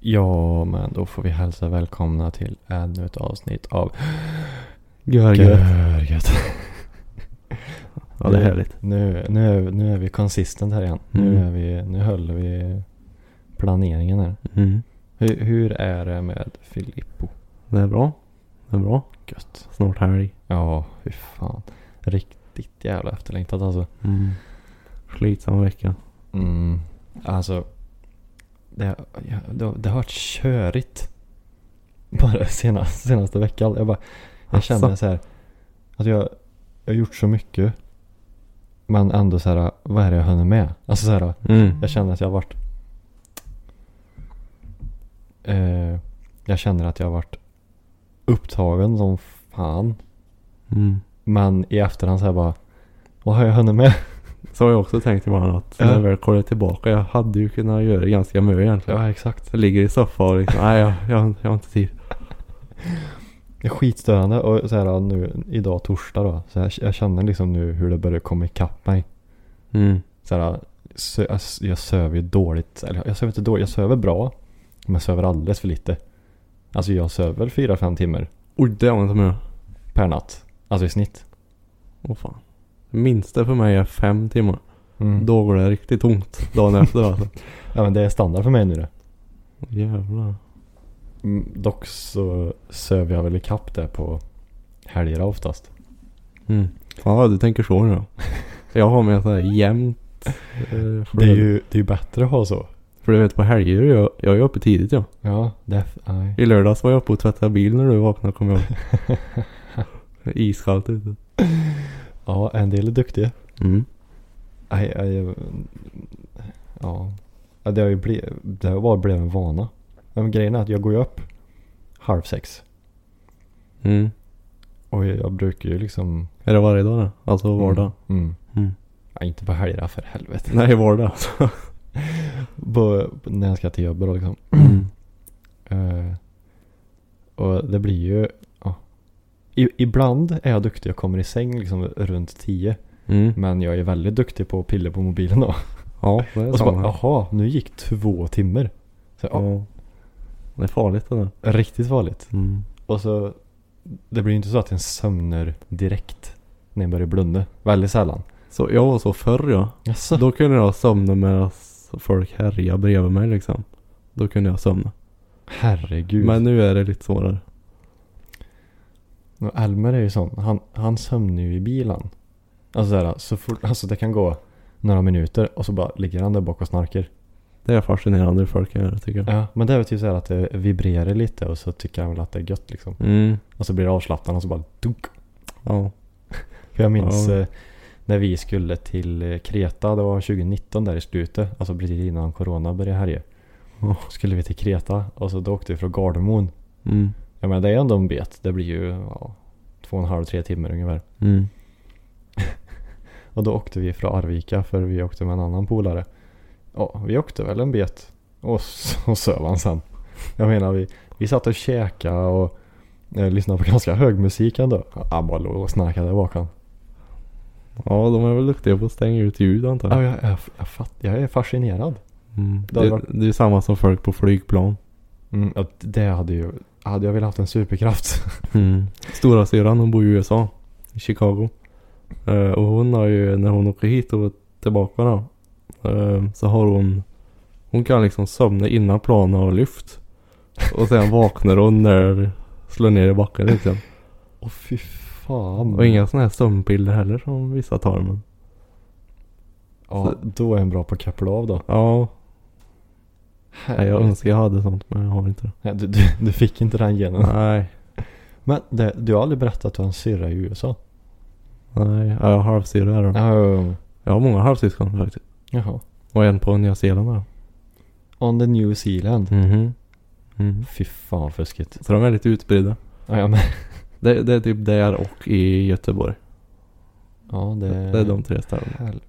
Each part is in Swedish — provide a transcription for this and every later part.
Ja, men då får vi hälsa välkomna till ännu ett avsnitt av Görgött. Görgött. Ja, det är härligt. Nu, nu, är, nu är vi consistent här igen. Nu, Mm. är vi, nu höll vi planeringen här. Mm. Hur, hur är det med Filippo? Det är bra. Det är bra. Gött. Snart helg. Ja, fy fan. Riktigt jävla efterlängtat alltså. Mm. Slitsam vecka. Mm. Alltså. Det, ja, det, det har varit körigt. Bara senaste, senaste veckan. Jag bara. Jag Asså. kände så här. Att jag, jag har gjort så mycket. Men ändå så här. Vad är det jag hinner med? Alltså så här. Mm. Jag känner att jag har varit. Eh, jag känner att jag har varit upptagen som fan. Mm. Men i efterhand så här bara. Vad har jag hunnit med? Så har jag också tänkt ibland att Ja. när jag väl kollar tillbaka. Jag hade ju kunnat göra ganska mycket egentligen. Ja exakt. Jag ligger i soffan och liksom. Nej, jag, jag, jag har inte tid. Det är skitstörande och så här nu idag torsdag då. Så jag, jag känner liksom nu hur det börjar komma ikapp mig. Mm. Så här, sö, jag, jag söver ju dåligt. Eller jag söver inte dåligt, jag söver bra. Men jag söver alldeles för lite. Alltså jag söver 4-5 timmar Oj, det var inte med. per natt. Alltså i snitt. Åh fan. Minsta för mig är fem timmar. Då, Då går det riktigt tomt dagen efter alltså. ja men det är standard för mig nu det. Jävlar. Mm, Dock så söver jag väl ikapp det på helger oftast. Mm. Ja, du tänker så nu då. Jag har med sådär jämnt. Eh, Det är ju, det är ju bättre att ha så. För du vet på helger, jag, jag är uppe tidigt ja. Ja, det... Nej. I lördags var jag uppe och tvättade bilen när du vaknade kommer jag ihåg. Det är Iskallt ute. Ja, en del är duktiga. Mm. Nej, nej, jag- ja. ja. Det har ju blivit, det har bara blivit en vana. Men grejen är att jag går ju upp halv sex. Mm. Och jag, jag brukar ju liksom... Är det varje dag då? Alltså vardag? Mm. Mm. Ja, inte på helgerna för helvete. Nej, vardag alltså. På, när jag ska till jobbet då liksom. Eh, och det blir ju... Ja. I, ibland är jag duktig. Jag kommer i säng liksom runt tio. Mm. Men jag är väldigt duktig på att pilla på mobilen då. Ja, det är Och så bara, samma. här. jaha, nu gick två timmar. Så, ja, Ja. Det är farligt det där. Riktigt farligt. Mm. Och så, det blir ju inte så att en sömner direkt när en börjar blunda. Väldigt sällan. Så jag var så förr ja. Jaså? Då kunde jag somna medan folk härjade bredvid mig liksom. Då kunde jag somna. Herregud. Men Men... nu är det lite svårare. Elmer är ju sån. Han, han sömnar ju i bilen. Alltså sådär, så fort, alltså det kan gå några minuter och så bara ligger han där bak och snarkar. Det är fascinerande hur folk kan göra tycker jag. Ja. Men det är väl typ såhär att det vibrerar lite och så tycker han väl att det är gött liksom. Mm. Och så blir det avslappnande och så bara dunk. Ja. För jag minns Ja. eh, när vi skulle till eh, Kreta, det var 2019 där i slutet, alltså precis innan corona började härja. Ja. Skulle vi till Kreta och så då åkte vi från Gardermoen. Mm. Jag menar det är ändå en bet, det blir ju ja, två och en halv, tre timmar ungefär. Mm. Och då åkte vi från Arvika för vi åkte med en annan polare. Ja, vi åkte väl en bet och så söv han sen. Jag menar vi, vi satt och käkade och eh, lyssnade på ganska hög musik ändå. Han bara låg och snarkade där bak han. Ja, de är väl duktiga på att stänga ut ljud antar Ja, jag. jag, jag, jag, fatt, jag är fascinerad. Mm. Det hade Det, det är samma som folk på flygplan. Mm, ja, det hade ju... Hade jag velat haft en superkraft. Mm. Stora syrran hon bor i USA, i Chicago. Eh, och hon har ju, när hon åker hit och tillbaka då, eh, så har hon, hon kan liksom somna innan planen har lyft. Och sen vaknar hon när det slår ner i backen liksom. Åh fy fan. Och inga sådana här sömnpiller heller som vissa tar men. Ja, då är en bra på att koppla av då. Ja, nej, jag önskar jag hade sånt men jag har inte det. Nej, du, du, du fick inte den genen. Nej, Men det, du har aldrig berättat att du har en syrra i USA? nej, ja, jag har halvsyrra här då. Um, Jag har många halvsyskon faktiskt. jaha. Och en på Nya Zeeland här. On the New Zealand. Mhm. Mhm. Fy fan fusket. Så de är lite utspridda. Ja, ja, men, Det, det är typ där och i Göteborg. ja det, Det är de tre städerna. Hel-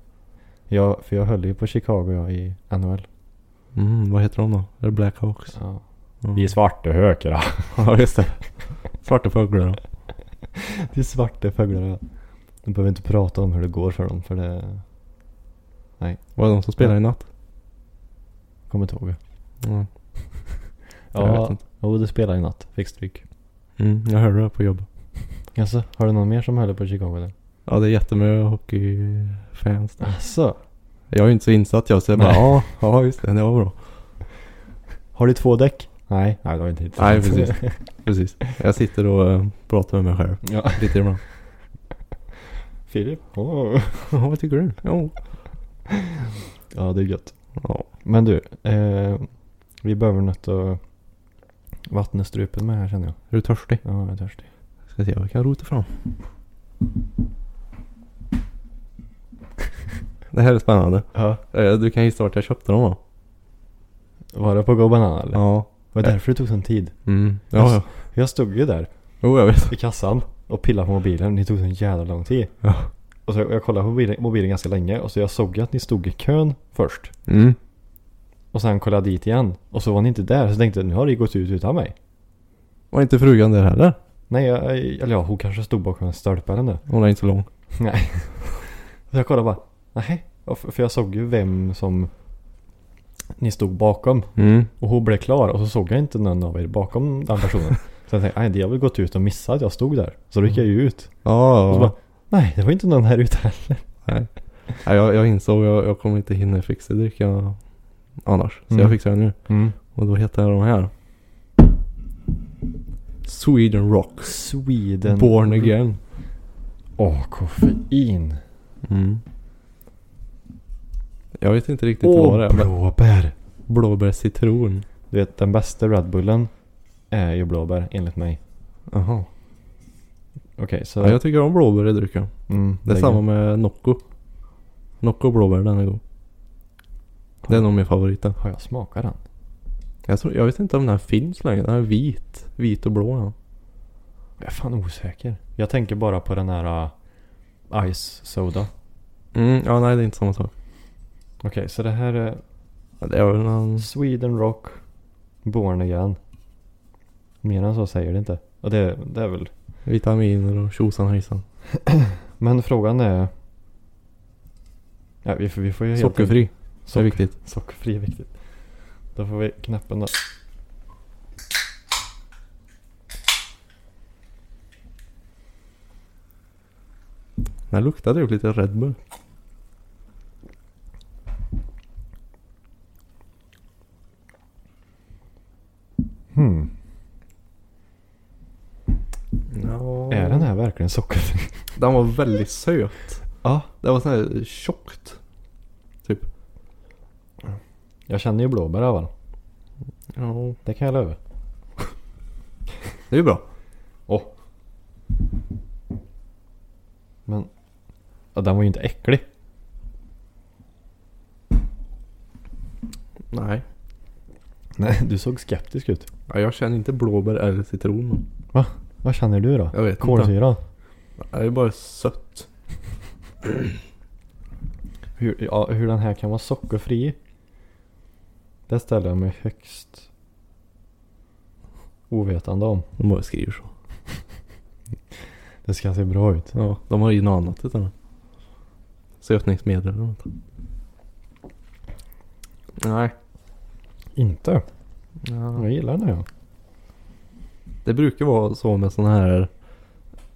Ja, för jag höll ju på Chicago jag, i NHL. Mm, vad heter de då? Är det Blackhawks? Ja. Mm. Vi är svarta hökar. ja. Ja, just det. Svarta fåglar då. Vi är svarta fåglar. ja. Du behöver inte prata om hur det går för dem för det Var det de som spelade i natt? kommer inte ihåg. Mm. Jag vet Ja, inte. jo det spelar i natt. Fick stryk. Mm, jag hörde det på jobbet. Jaså, har du någon mer som höll på Chicago där? Ja, det är jättemycket hockeyfans där. Jaså? Jag är ju inte så insatt jag, så jag bara Nej. ja, ja just det, det var bra. Har du två däck? Nej, nej det har inte hittat. Nej, precis. Precis. Jag sitter och eh, pratar med mig själv ja. lite ibland. Filip? Åh. Ja, vad tycker du? Ja. Ja, det är gött. Ja. Men du, eh, vi behöver något att vattna strupen med här känner jag. Är du törstig? Ja, jag är törstig. Ska se vad jag kan rota fram. Det här är spännande. Ja. Eh, Du kan gissa vart jag köpte dem va? Var det på Go Banana eller? Ja. Var det därför det tog sån tid? Mm. Ja, ja. Jag stod ju där Jo, jag vet. i kassan och pillade på mobilen. Det tog så en jävla lång tid. Ja. Och så jag, jag kollade på mobilen, mobilen ganska länge och så jag såg ju att ni stod i kön först. Mm. Och sen kollade jag dit igen och så var ni inte där. Så jag tänkte jag, nu har det ju gått ut utan mig. Var inte frugan där heller? Nej, jag, eller ja, hon kanske stod bakom en stolpe eller nåt. Hon är inte så lång. Nej. Så jag kollade bara, nej. Ja, För för jag såg ju vem som ni stod bakom. Mm. Och hon blev klar och så såg jag inte någon av er bakom den personen. Så jag tänkte, nej det har väl gått ut och missat att jag stod där. Så då gick jag ju ut. Ja, Och så ja. bara, nej det var inte någon här ute heller. Nej. Nej, jag, jag insåg jag, jag kommer inte hinna fixa dricka annars. Så Mm. jag fixar det nu. Och då heter de här. Sweden Rocks. Sweden. Born again. Åh, koffein. Mm. Jag vet inte riktigt vad det Åh, är. men blåbär. Blåbär citron. Du vet den bästa Red Bullen är ju blåbär enligt mig. Jaha. Okej så. Ja, jag tycker om blåbär i drycken. mm, Det är lägg- samma med Nocco. Nocco och blåbär, den är god. Det är nog min favorit den. Har jag smakat den? Jag, tror, jag vet inte om den här finns längre. Den är vit. Vit och blå ja. Jag är fan osäker. Jag tänker bara på den här uh, Ice Soda. Mm, ja nej det är inte samma sak. Okej så det här är Ja, Det är väl någon... Sweden Rock Born Again. Mer än så säger det inte. Och det, det är väl. Vitaminer och tjosan hejsan. Men frågan är. Ja, vi, får- vi får ju helt Sockerfri. Det är Socker- viktigt. Sockerfri är viktigt. Då får vi knäppen då. Den här luktar typ lite Red Bull. Hmm. Ja. Är den här verkligen sockerfri? Den var väldigt söt. Ja. Det var sån här tjockt. Typ. Jag känner ju blåbär i alla fall. Ja. Det kan jag lova. Det är ju bra. Åh. Men. Ja, den var ju inte äcklig. Nej. Nej, du såg skeptisk ut. Ja, jag känner inte blåbär eller citron. men Vad känner du då? Jag vet inte. Kolsyra? Det är ju bara sött. Hur, ja, hur den här kan vara sockerfri. Det ställer jag mig högst ovetande om. De bara skriver så. Det ska se bra ut. Ja. De har ju något annat utan det. Sötningsmedel eller något. Nej. Inte? Ja. Jag gillar den här. Det brukar vara så med sådana här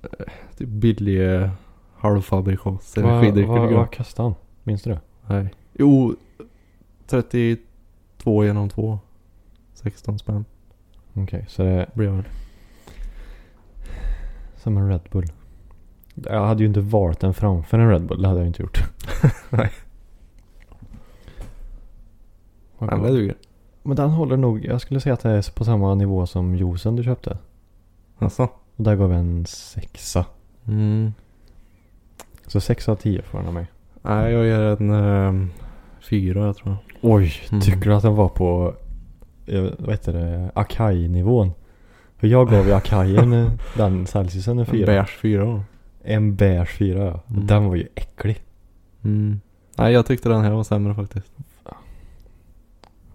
eh, typ billiga halvfabrikats energidrycker. Vad tycker jag. va, kastade han? Minns du det? Nej. Jo, 32 genom 2. 16 spänn Okej, så det är blir jag väl. som en Red Bull. Jag hade ju inte valt den framför en Red Bull. Det hade jag inte gjort. Nej. Vad Men gott. det duger. Men den håller nog. Jag skulle säga att det är på samma nivå som juicen du köpte. Jaså? Och där gav jag en sexa. Mm. Så sex av tio får den av mig. Nej, jag ger en um, fyra jag tror. Oj, Mm. tycker du att den var på, eh, vad heter det, Akai-nivån? För jag gav ju Akaien eh, den Celsiusen en En fyra. beige fyra då. En beige fyra ja. Mm. Den var ju äcklig. Mm. Nej jag tyckte den här var sämre faktiskt.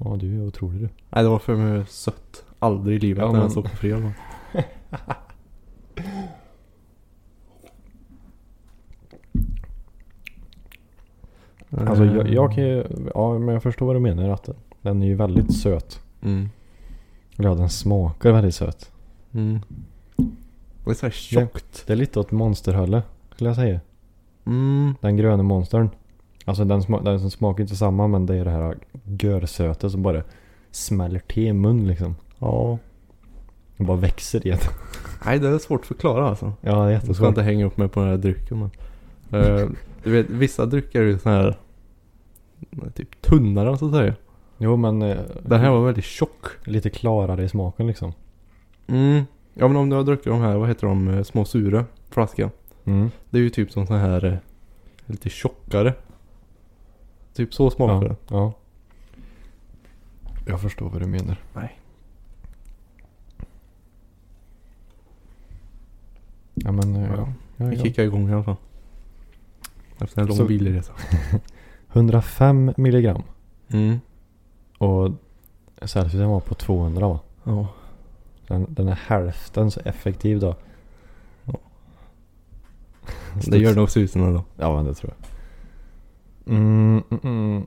Ja du är otrolig du. Nej det var för mig sött. Aldrig i livet Ja, när men- den såg på fredag. Alltså jag, jag kan ju, ja men jag förstår vad du menar att den är ju väldigt söt. Mm. Eller ja, den smakar väldigt söt. Mm. Det är såhär tjockt. Det är lite åt monsterhållet skulle jag säga. Mm. Den gröna monstern. Alltså den, sma- den som smakar inte samma men det är det här görsöta som bara smäller till i mun liksom. Ja. Och bara växer i en. Nej det är svårt att förklara alltså. Ja det är Jag ska jättesvårt. inte hänga upp mig på den här drycken men. Eh, du vet vissa drycker är ju sån här. Typ tunnare så att säga. Jo men eh, Den här var väldigt tjock. lite klarare i smaken liksom. Mm. Ja men om du har druckit de här, vad heter de, eh, små sura flaskan. Mm. Det är ju typ som sån här eh, lite tjockare. Typ så smakar Ja, det. ja. Jag förstår vad du menar. Nej. Ja men eh, Ja. ja, Vi ja. kickar igång i alla fall. Efter en lång Så- bilresa. 105 milligram. Mm. Och Celsiusen var på 200 va? Ja. Den, den är hälften så effektiv då. Ja. Det gör nog susen ändå. Ja men det tror jag. Mm, mm, mm.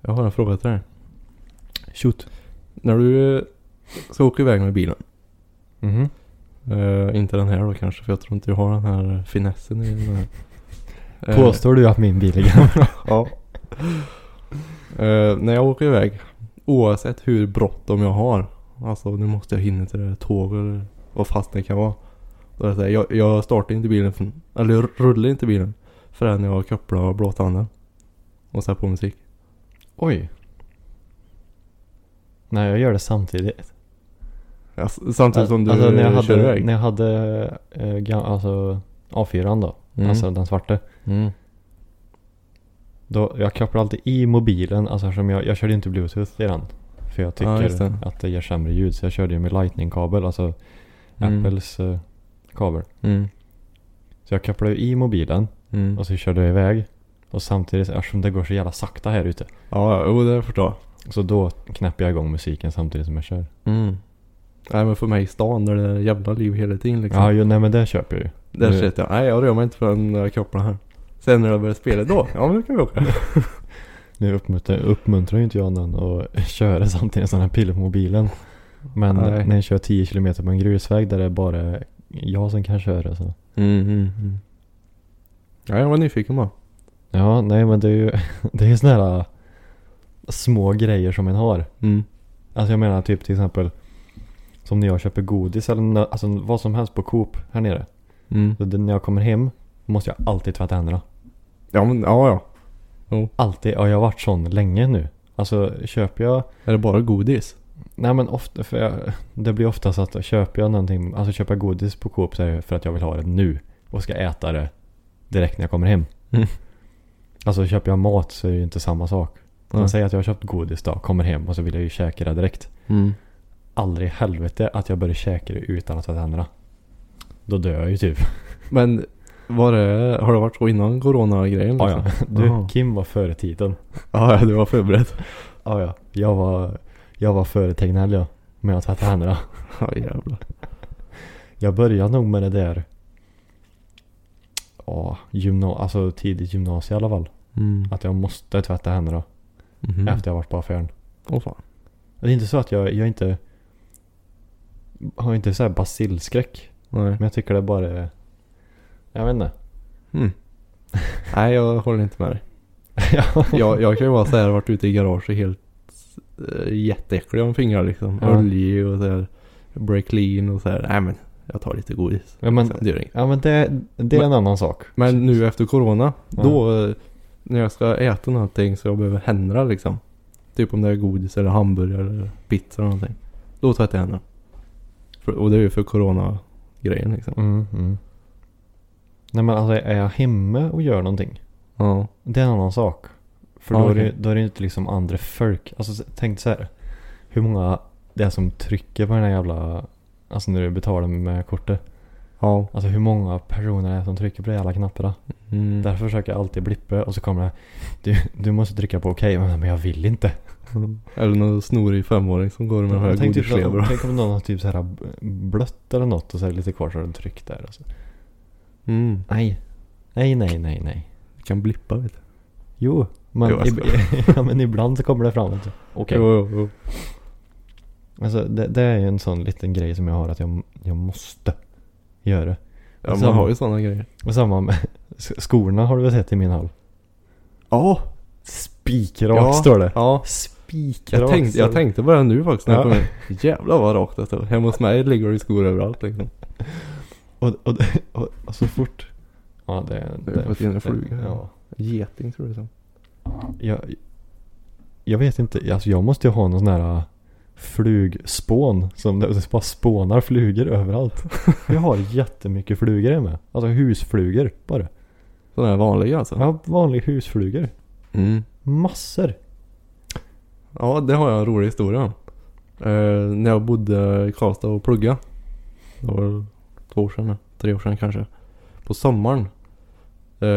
Jag har en fråga till dig. Shoot. När du eh, ska åka iväg med bilen. Mhm. eh, inte den här då kanske för jag tror inte jag har den här eh, finessen i den här. Eh, Påstår du att min bil är gammal? Ja. Eh, när jag åker iväg, oavsett hur bråttom jag har, alltså nu måste jag hinna till det här tåget eller vad fast det kan vara. Då är det så här, jag, jag startar inte bilen, från, eller jag rullar inte bilen förrän jag har kopplat blåtanden. Och satt på musik. Oj. Nej jag gör det samtidigt. Alltså, samtidigt som du alltså, när jag hade, kör iväg. När jag hade eh, ga- alltså, A4 då. Mm. Alltså den svarta. Mm. Då, jag kopplar alltid i mobilen, alltså eftersom jag, jag körde ju inte bluetooth i den. För jag Ja, tycker just det. att det ger sämre ljud så jag körde ju med lightning-kabel, alltså Mm. Apples eh, kabel. Mm. Så jag kopplade ju i mobilen Mm. och så körde jag iväg. Och samtidigt, eftersom det går så jävla sakta här ute, Ja, ja, jo det förstår jag. så då knäpper jag igång musiken samtidigt som jag kör. Mm. Nej men för mig i stan där det är jävla liv hela tiden liksom. Ja, jo, nej men det köper jag ju. Där Nu- sitter jag. Nej jag rör mig inte förrän jag kopplar här. Sen när jag börjar spela då, ja men då kan vi åka. Nu uppmuntrar, uppmuntrar ju inte jag någon att köra samtidigt som den piller på mobilen. Men Nej. när jag kör 10 km på en grusväg där det är bara jag som kan köra så. Mm, mm, mm. Ja, jag var nyfiken bara. Ja, nej men det är ju, det är ju såna här äh, små grejer som en har. Mm. Alltså jag menar typ till exempel som när jag köper godis eller nå- alltså vad som helst på Coop här nere. Mm. Så det- när jag kommer hem måste jag alltid tvätta händerna. Ja, men ja, ja. Alltid. Och jag har varit sån länge nu. Alltså köper jag, Är det bara godis? nej men ofta, för jag, det blir ofta så att köper jag någonting, alltså köper jag godis på Coop så är det för att jag vill ha det nu. Och ska äta det direkt när jag kommer hem. Mm. Alltså köper jag mat så är det ju inte samma sak. Nej. Man säger att jag har köpt godis då, kommer hem och så vill jag ju käka det direkt. Mm. aldrig i helvete att jag börjar käka det utan att tvätta händerna. Då dör jag ju typ. Men var det, har det varit så innan corona-grejen? liksom? Ja, ja. Du, Aha. Kim var före tiden. ja, ja, du var förberedd. Ja, ja. Jag var, jag var före Tegnell ja. Med att tvätta händerna. Ja, jävlar. Jag började nog med det där. Ja, gymna- alltså tidigt gymnasium i alla fall. Mm. Att jag måste tvätta händerna Mhm. efter jag varit på affären. Åh fan. Det är inte så att jag, jag inte har inte så här basilskräck. Nej. Men jag tycker det bara är- Jag vet inte. Mm. Nej, jag håller inte med dig. jag, jag kan ju bara säga att jag har varit ute i garaget helt äh, jätteäcklig om fingrar liksom. Ja. Oljig och så här. Break clean och så här. Nej men, jag tar lite godis. Ja men, Sen, det gör inget. ja, men det, det är en annan sak. Men nu efter corona, Ja. då eh, när jag ska äta någonting så jag behöver händerna liksom. Typ om det är godis eller hamburgare eller pizza eller någonting. Då tvättar jag händerna. För, och det är ju för corona-grejen liksom. Mm, mm. Nej men alltså är jag hemma och gör någonting? Ja. Det är en annan sak. För Ja, då, är okej. det, då är det inte liksom andra folk. Alltså s- tänk så här. Hur många det är som trycker på den här jävla... Alltså när du betalar med kortet. Ja. Alltså hur många personer det är som trycker på de jävla knapparna. Mm. Därför försöker jag alltid blippa och så kommer det. Du, du måste trycka på okej. Men, men jag vill inte. Mm. Eller någon snorig femåring som går med Jag hög tänkte typ godislever. att- tänk om någon har typ så här b- blött eller något och så är det lite kvar så har den tryckt där. Alltså. Mm. Nej. Nej, nej, nej, nej. Kan blippa vet du. Jo. Men, Jo, jag ib- ja, men ibland så kommer det fram. Alltså. Okej. Jo, jo, jo. Alltså, det, det är ju en sån liten grej som jag har att jag, jag måste göra. Ja, man Samma. har ju sådana grejer. Och samma med sk- skorna har du väl sett i min hall? Ja. Spikrakt Ja. står det. Ja. Spikrakt. Jag tänkte, jag står det. tänkte bara nu faktiskt när jag Ja. kom in. Jävlar vad rakt det stod. Hemma hos mig ligger det skor överallt liksom. Och, och, och, och så fort. Ja, det, Du har fått in en fluga. Ja. Geting tror jag det är. Jag, jag vet inte. Alltså, jag måste ju ha någon sån här äh, flugspån. Som det bara spånar flugor överallt. jag har jättemycket flugor jag med. Alltså husflugor bara. Sådana här vanliga alltså. Jag har vanliga husflugor. Mm. Massor. Ja, det har jag en rolig historia om. Eh, när jag bodde i Karlstad och pluggade. Det var väl två år sedan, nu, tre år sedan kanske. På sommaren. Eh,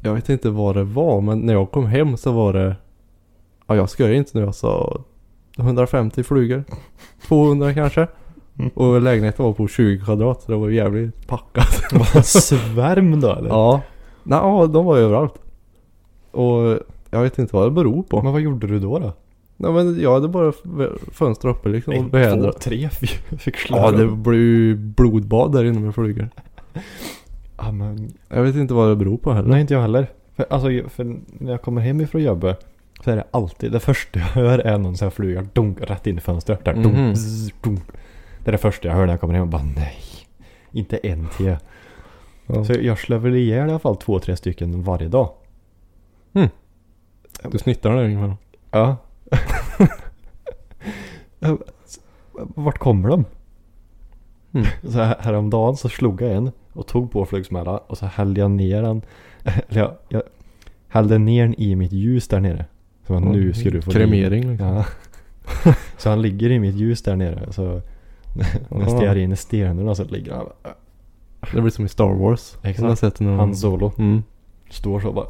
jag vet inte vad det var, men när jag kom hem så var det... Ja, jag skojar inte nu. Jag sa 150 flugor. 200 kanske. Mm, Och lägenheten var på 20 kvadrat, så det var jävligt packat. Vad svärm då eller? ja. Nej, ja, de var överallt. Och jag vet inte vad det beror på. Men vad gjorde du då då? Nej men jag hade bara f- fönster uppe liksom och vädra. tre, fyra, fick slå. Ja det blev ju blodbad där inne med flugor. ja, men, Jag vet inte vad det beror på heller. Nej inte jag heller. För, alltså, jag- för när jag kommer hem ifrån jobbet så är det alltid det första jag hör är någon sån här fluga dunk rätt in i fönstret. Där, dunk, Mhm. zzz, dunk. Det är det första jag hör när jag kommer hem och bara nej. Inte en till. Ja. Så jag slår väl ihjäl i alla fall två, tre stycken varje dag. Du snittar den ungefär. Ja. Vart kommer de? Mm. Så här, häromdagen så slog jag en och tog på flugsmälla och så hällde jag ner den. Eller jag, jag hällde ner den i mitt ljus där nere. Så man, nu ska du få Kremering liksom. Ja. Så han ligger i mitt ljus där nere. Så när stearin är stenhård så ligger han. Det blir som i Star Wars. Om Exakt. du har sett någon... Han Solo Mm. står så bara.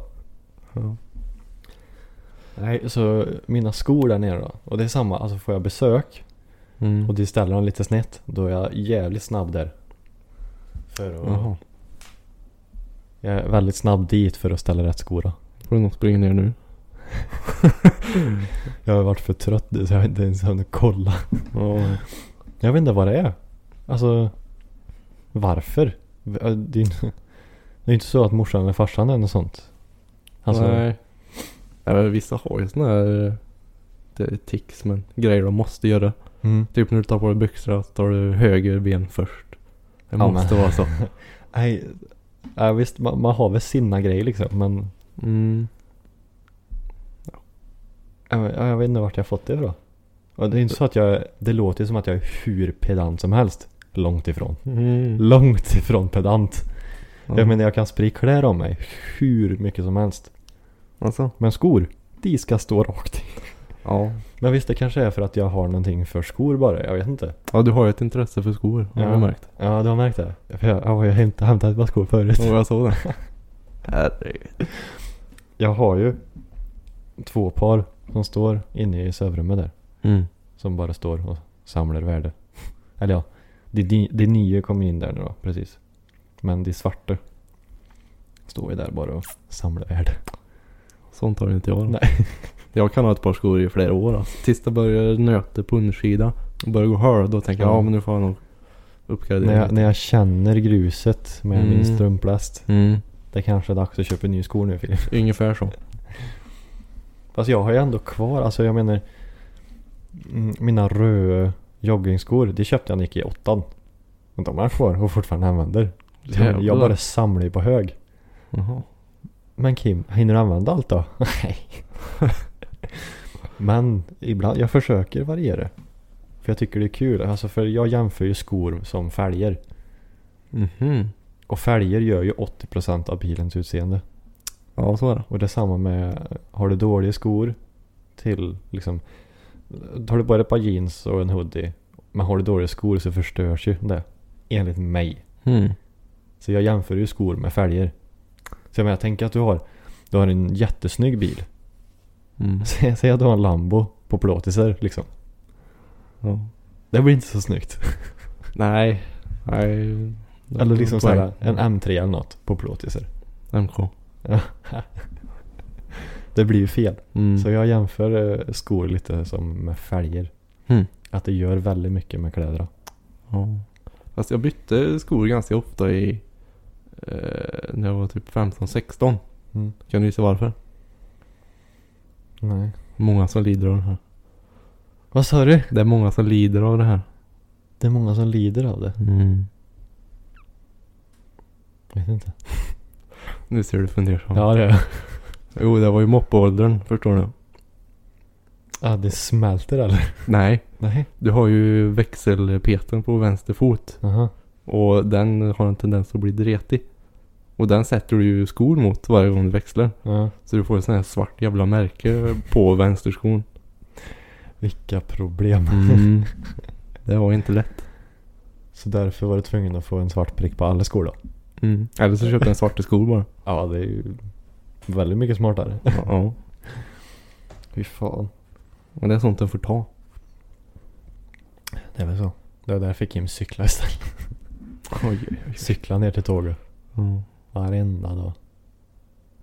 Ja. Nej, så mina skor där nere då. Och det är samma, alltså får jag besök Mm. och de ställer dem lite snett. Då är jag jävligt snabb där. För att, Jaha. Jag är väldigt snabb dit för att ställa rätt skor då. Får du nog springa ner nu. Jag har varit för trött nu så jag har inte ens hunnit kolla. Ja. Jag vet inte vad det är. Alltså, varför? Det är ju- det är inte så att morsan eller farsan är något sånt. Alltså, Nej. Nej men vissa har ju sådana här... eh, Det är tics men grejer de måste göra. Mm. Typ när du tar på dig byxorna så tar du höger ben först. Det Ja, måste vara så. Nej, ja, visst man, man har väl sina grejer liksom men Mm. ja, men- ja, jag vet inte vart jag fått det ifrån. Och det är inte så att jag, det låter ju som att jag är hur pedant som helst. Långt ifrån. Mm. Långt ifrån pedant. Ja. Jag menar jag kan sprida kläder om mig hur mycket som helst. Alltså? Men skor, de ska stå rakt. Ja. Men visst det kanske är för att jag har någonting för skor bara, jag vet inte. Ja, du har ju ett intresse för skor. Har Ja. jag märkt. Ja du har märkt det? För jag, jag har ju hämt- hämtat ett par skor förut. Och jag såg det. Herregud. Jag har ju två par som står inne i sovrummet där. Mm. Som bara står och samlar värde. Eller ja, de, de, de nya kom ju in där nu då, precis. Men de svarta står ju där bara och samlar värde. Sånt har ju inte jag. Nej. Jag kan ha ett par skor i flera år alltså. Tills det börjar nöta på undersida och börjar gå hål. Då tänker jag, Ja. ja men nu får jag nog uppgradera När jag, lite. när jag känner gruset med min Mm. strumplast Mm. Det kanske är dags att köpa nya skor nu Filip. Ungefär så. Fast jag har ju ändå kvar, alltså jag menar mm, Mina röda joggingskor, de köpte jag när jag gick i åttan. Men de är kvar och fortfarande använder. Jag, jag bara samlar ju på hög. Jaha. Men Kim, hinner du använda allt då? Nej. Men ibland, jag försöker variera. För jag tycker det är kul. Alltså för jag jämför ju skor som fälgar. Mhm. Och fälgar gör ju 80% av bilens utseende. Ja, så är det. Och det är samma med, har du dåliga skor till liksom, tar du bara ett par jeans och en hoodie, men har du dåliga skor så förstörs ju det. Enligt mig. Mm. Så jag jämför ju skor med fälgar. Så jag menar, tänk att du har, du har en jättesnygg bil. Mm. Sä- Säg att du har en Lambo på plåtisar liksom. Ja. Det blir inte så snyggt. Nej. Nej. Det Eller är liksom poäng. såhär, en M3 eller något på plåtisar. MK. Det blir ju fel. Mm. Så jag jämför eh, skor lite som med fälgar. Mm. Att det gör väldigt mycket med kläderna. Ja. Fast jag bytte skor ganska ofta i... Eh, när jag var typ 15-16. Mm. Kan du gissa varför? Nej. Många som lider av det här. Vad sa du? Det är många som lider av det här. Det är många som lider av det. Mm. Vet inte. Nu ser du fundersam Ja det är Jo, det var ju moppeåldern, förstår du. Ja det smälter eller? Nej, Nej. du har ju växelpeten på vänster fot. Jaha. Och den har en tendens att bli dretig. Och den sätter du ju skor mot varje gång du växlar. Ja. Så du får ett sånt här svart jävla märke på vänsterskon. Vilka problem. Mm. Det var inte lätt. Så därför var du tvungen att få en svart prick på alla skor då? Mm. Eller så köpte jag en svart skor bara. Ja det är ju väldigt mycket smartare. Ja, Ja. Fy fan. Men det är sånt den får ta. Det är väl så. Det var där jag fick Kim cykla istället. Oj, oj, oj. Cykla ner till tåget. Ja. Varenda dag.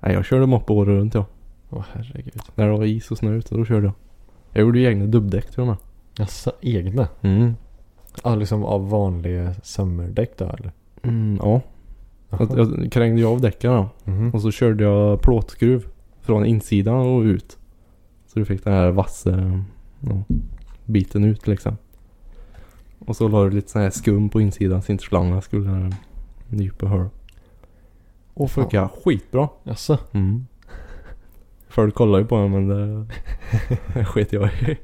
Nej, jag körde moppe året runt jag. Åh herregud. När det var is och snö ute, då körde jag. Jag gjorde ju egna dubbdäck till de här. Jaså, egna? Mm. Ja, liksom av vanliga sommardäck då eller? Mm, ja. Jag, jag krängde ju av däcken då. Mhm. Och så körde jag plåtskruv från insidan och ut. Så du fick den här vassa ja, biten ut liksom. Och så la du lite sån här skum på insidan så inte slangen skulle nypa hål. Åh fan. Funkar skitbra. Jaså? Mm. Folk kollade ju på mig men det, det sket jag i.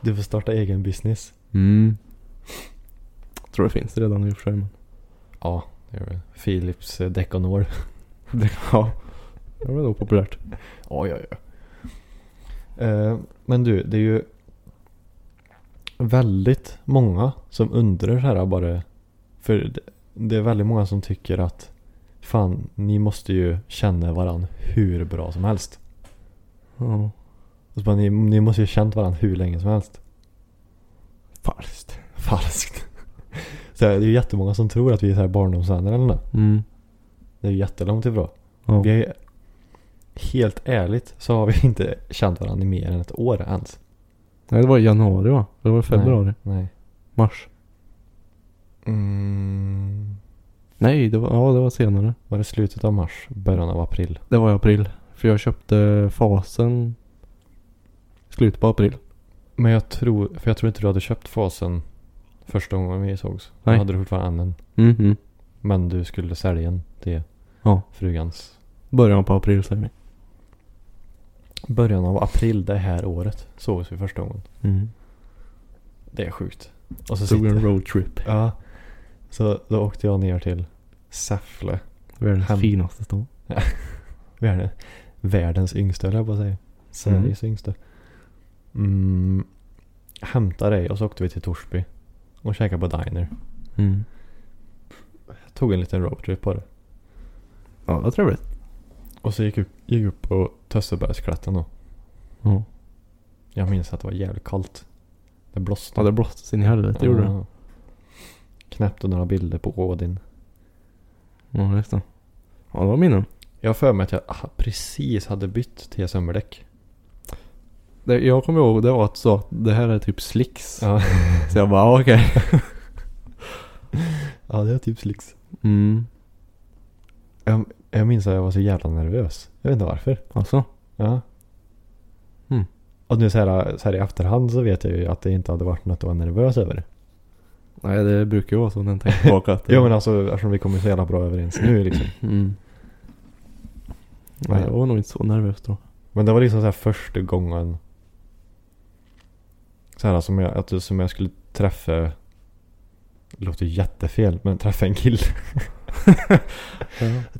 Du får starta egen business. Mm. Tror det finns redan i och för sig men. Ja, det gör vi. Philips eh, Deconor. Ja. Det var nog populärt. Ja, ja, ja. Eh, men du, det är ju väldigt många som undrar så här bara. För det- det är väldigt många som tycker att fan, ni måste ju känna varandra hur bra som helst. Ja. Och så bara, ni, ni måste ju ha känt varandra hur länge som helst. Falskt. Falskt. Så här, det är ju jättemånga som tror att vi är så här barndomsvänner eller något. Mm. Det är ju jättelångt ifrån. Ja. Vi är, helt ärligt så har vi inte känt varandra i mer än ett år ens. Nej det var i januari va? Det var i februari? Nej. Mars? Mm. Nej, det var, ja, det var senare. Var det slutet av mars? Början av april? Det var i april. För jag köpte fasen i slutet på april. Men jag tror, för jag tror inte du hade köpt fasen första gången vi sågs. Då Nej. hade du fortfarande en. Mhm. Men du skulle sälja den till Ja. frugans. Början på april säger vi. Början av april det här året sågs vi första gången. Mm. Det är sjukt. Och så Tog en sitter... roadtrip. Ja. Så då åkte jag ner till Säffle. Världens Hem. finaste stad. Världen, världens yngsta höll jag på att säga. Sveriges yngsta. Mm, hämtade dig och så åkte vi till Torsby. Och käkade på Diner. Mm. Jag tog en liten roadtrip på det. Ja, det var trevligt. Och så gick jag upp, gick upp på Tössebergsklätten då. Ja. Jag minns att det var jävligt kallt. Det blåste. ja det blåste sin i helvete gjorde det. Ja. Knäppte några bilder på Odin. Ja, just det. Ja, det var minnen. Jag har för mig att jag ah, precis hade bytt till sommardäck. Det, jag kommer ihåg det var att du sa att det här är typ slicks. Ja. Så jag bara, ah, okej. ja, det är typ slicks. Mm. Jag minns att jag var så jävla nervös. Jag vet inte varför. Alltså? Ja. Hmm. Mm. Och nu så här, så här i efterhand så vet jag ju att det inte hade varit något att vara nervös över. Nej, det brukar ju vara så när man tänker tillbaka. att- Jo men alltså eftersom vi kommer så jävla bra överens nu liksom. Mm. Nej, jag var nog inte så nervös då. Men det var liksom så här första gången så här som jag, att, som jag skulle träffa det låter jättefel men träffa en kille. Ja,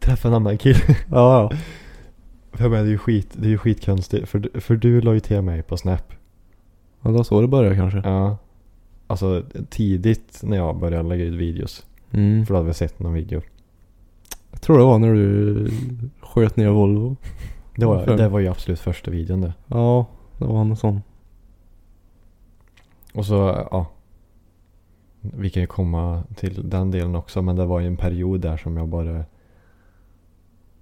Träffa en annan kille. ja. Jag menar, det är ju skit, det är ju skitkonstigt. För, du- för du la ju till mig på Snap. Ja, det var så det började kanske. Ja. Alltså tidigt när jag började lägga ut videos. Mm. För då hade vi sett någon video. Jag tror det var när du sköt ner Volvo. Det var, Varför? det var ju absolut första videon det. Ja, det var någon sån. Och så, ja. Vi kan ju komma till den delen också. Men det var ju en period där som jag bara...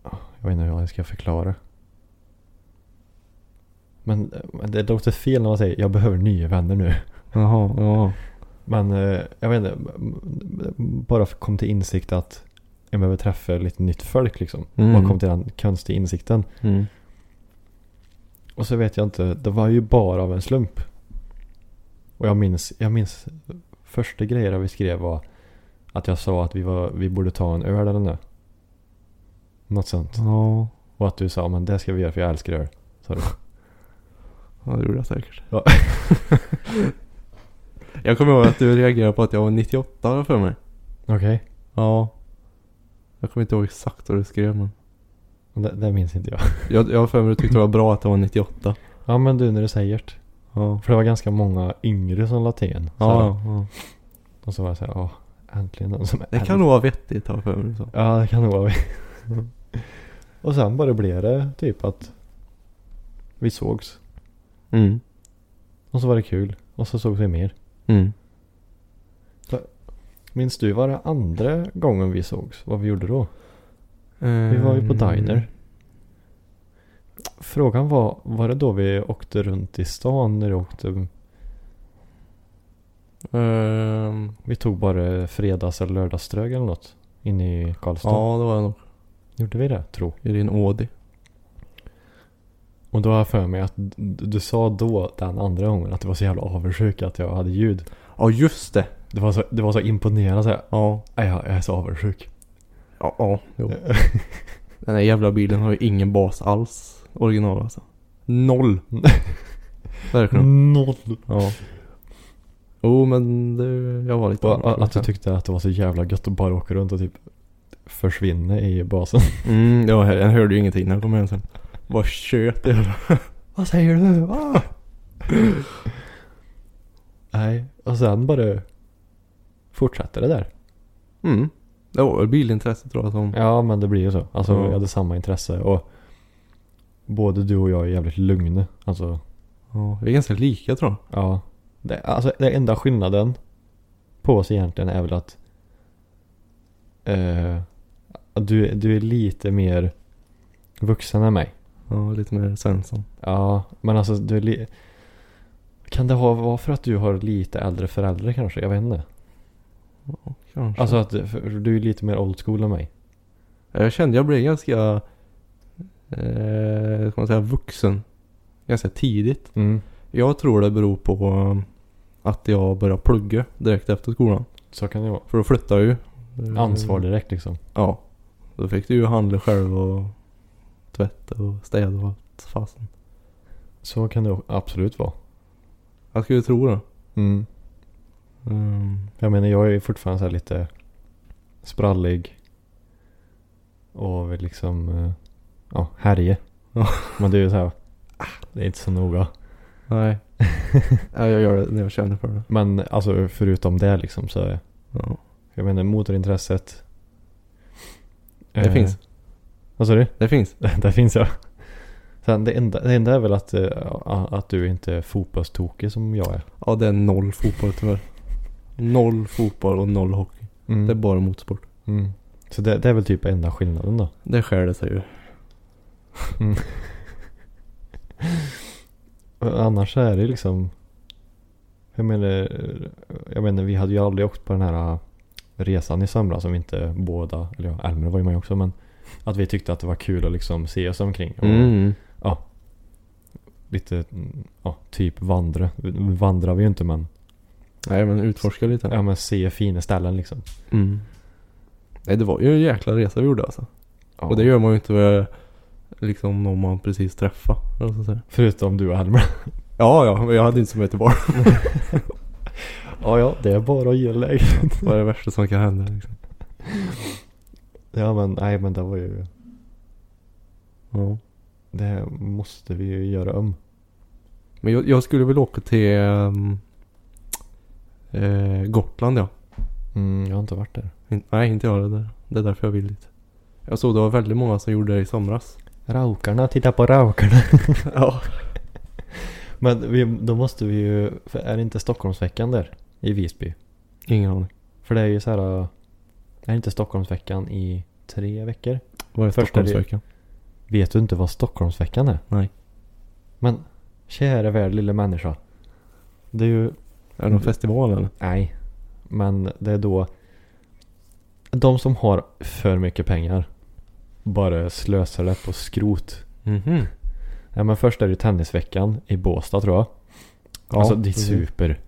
Ja, Jag vet inte hur jag ska förklara. Men eh, men det låter fel när man säger jag behöver nya vänner nu. Jaha, ja. Men eh, jag vet inte, m- m- bara kom till insikt att jag behöver träffa lite nytt folk liksom. Mm. Bara kom till den konstiga insikten. Mm. Och så vet jag inte, det var ju bara av en slump. Och jag minns, jag minns första grejerna vi skrev var att jag sa att vi, var, vi borde ta en öl eller något. Något sånt. Ja, Och att du sa, men det ska vi göra för jag älskar öl. Sa du. ja det gjorde jag säkert. Ja. jag kommer ihåg att du reagerade på att jag var 98 har jag för mig. Okej. Ja. Jag kommer inte ihåg exakt vad du skrev men. Det, det minns inte jag. Jag, jag har för mig att du tyckte det var bra att det var 98. Ja men du när du säger det. Ja. För det var ganska många yngre som la till en. Så här. Ja, ja. Och så var jag såhär, åh, äntligen någon som Det kan nog vara vettigt har jag för mig. Så. Ja, det kan nog vara. och sen bara blev det typ att vi sågs. Mm. Och så var det kul. Och så sågs vi mer. Mm. Minns du vad det andra gången vi sågs? Vad vi gjorde då? Vi var ju på Ehm, diner. Frågan var, var det då vi åkte runt i stan när vi åkte? Ehm, Vi tog bara fredags eller lördagsströg eller något. Inne i Karlstad. ja, det var jag nog. Gjorde vi det? Tro. I din Audi. Och då har jag för mig att d- du sa då den andra gången att du var så jävla avundsjuk att jag hade ljud. Ja, just det. Det var så, det var så imponerande så här, Ja. "Aj, jag är så avundsjuk. Ja, ja. Eh. Jo. Den här jävla bilen har ju ingen bas alls. Original alltså. Noll. Mm. Verkligen. Noll. Ja. Jo oh, men det, jag var lite Och att du avundsjuk. tyckte att det var så jävla gött att bara åka runt och typ försvinna i basen. Mm, ja, jag hörde ju ingenting när jag kom hem sen. Bara tjöt jag. Vad säger du? Ah! Nej, och sen bara fortsatte det där. Mm. Det var väl bilintresset tror jag som... Ja, men det blir ju så. Alltså, Ja. vi hade samma intresse och både du och jag är jävligt lugna. Alltså, Ja, vi är ganska lika tror jag. Ja. Det, alltså den enda skillnaden på oss egentligen är väl att eh, att du, du är lite mer vuxen än mig. Ja, lite mer Svensson. Ja, men alltså du är li- Kan det ha- vara för att du har lite äldre föräldrar kanske? Jag vet inte. Kanske. Alltså att du- för du är lite mer old school än mig. Ja, jag kände jag blev ganska... Eh, ska man säga vuxen. Ganska tidigt. Mm. Jag tror det beror på eh, att jag började plugga direkt efter skolan. Så kan det vara. För då flyttade jag ju. Eh, Ansvar direkt liksom. Ja. Då fick du ju handla själv och tvätta och städa och allt fasen. Så kan det absolut vara. Jag skulle tro det. Mm. Mm. Jag menar jag är ju fortfarande så här lite sprallig. Och vill liksom, eh, ja, härje. Ja. Men det är ju så här, ah, det är inte så noga. Nej. ja, jag gör det när jag känner för det. Men alltså förutom det liksom så, Ja. jag menar motorintresset. eh, Det finns. Vad sa du? Det finns. det finns ja. Sen det enda, det enda är väl att, eh, a- att du inte är fotbollstokig som jag är. Ja, det är noll fotboll tyvärr. Noll fotboll och noll hockey. Mm. Det är bara motorsport. mm. Så det, det är väl typ enda skillnaden då. Det skär det sig ju. Annars så är det liksom Jag menar, jag menar vi hade ju aldrig åkt på den här äh, resan i somras som inte båda, eller ja, Elmer var ju med också men Att vi tyckte att det var kul att liksom se oss omkring och Mm. lite, mm, ja, typ vandra. Vandrar vi ju inte men, Nej men utforska lite. ja men se fina ställen liksom. Mm. Nej det var ju en jäkla resa vi gjorde alltså. Ja. Och det gör man ju inte med, liksom någon man precis träffar. alltså, eller vad ska jag säga. Förutom du och Elmer. Ja ja, men jag hade inte så mycket val. ja ja, det är bara att gilla läget. Vad är det värsta som kan hända liksom? Ja men nej men det var ju Ja. Det här måste vi ju göra om. Men jag, jag skulle väl åka till ehm, eh, Gotland ja. Mm, jag har inte varit där. In, nej, inte jag heller. Det är därför jag vill dit. Jag såg det var väldigt många som gjorde det i somras. Raukarna, titta på raukarna. ja. Men vi, då måste vi ju, för är det inte Stockholmsveckan där? I Visby? Ingen aning. För det är ju så här. äh, Är inte Stockholmsveckan i tre veckor? Var är Första Stockholmsveckan? Vet du inte vad Stockholmsveckan är? Nej. Men, kära värld lilla människa. Det är ju Är det någon festival eller? Nej. Men det är då de som har för mycket pengar bara slösar det på skrot. Mhm. Ja, men först är det tennisveckan i Båstad tror jag. Ja, alltså de precis. super.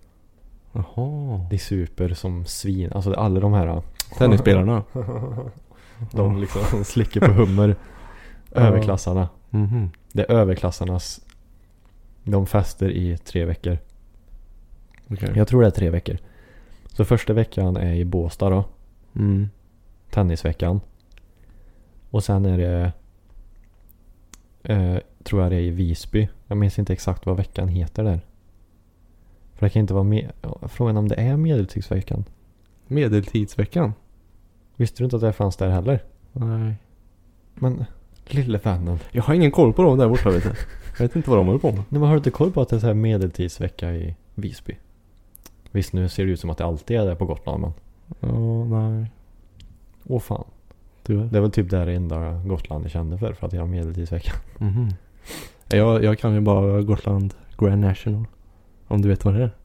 Jaha. De super som svin. Alltså alla de här. Tennisspelarna? De liksom slicker på hummer. Överklassarna. Mhm. Det är överklassarnas. De fester i tre veckor. Okej. Jag tror det är tre veckor. Så första veckan är i Båstad då. Mm. Tennisveckan. Och sen är det... Eh, tror jag det är i Visby. Jag minns inte exakt vad veckan heter där. För det kan inte vara med... ja, Frågan om det är Medeltidsveckan. Medeltidsveckan? Visste du inte att det fanns där heller? Nej. Men lille vännen. Jag har ingen koll på dem där borta vet du. Jag vet inte vad de håller på med. Nej, men har du inte koll på att det är så här medeltidsvecka i Visby? Visst nu ser det ut som att det alltid är där på Gotland men. Ja, nej. Åh fan. Tyvärr. Det är väl typ det här enda Gotland jag kände för. För att jag har medeltidsvecka. Mhm. Jag, jag kan ju bara Gotland Grand National. Om du vet vad det är.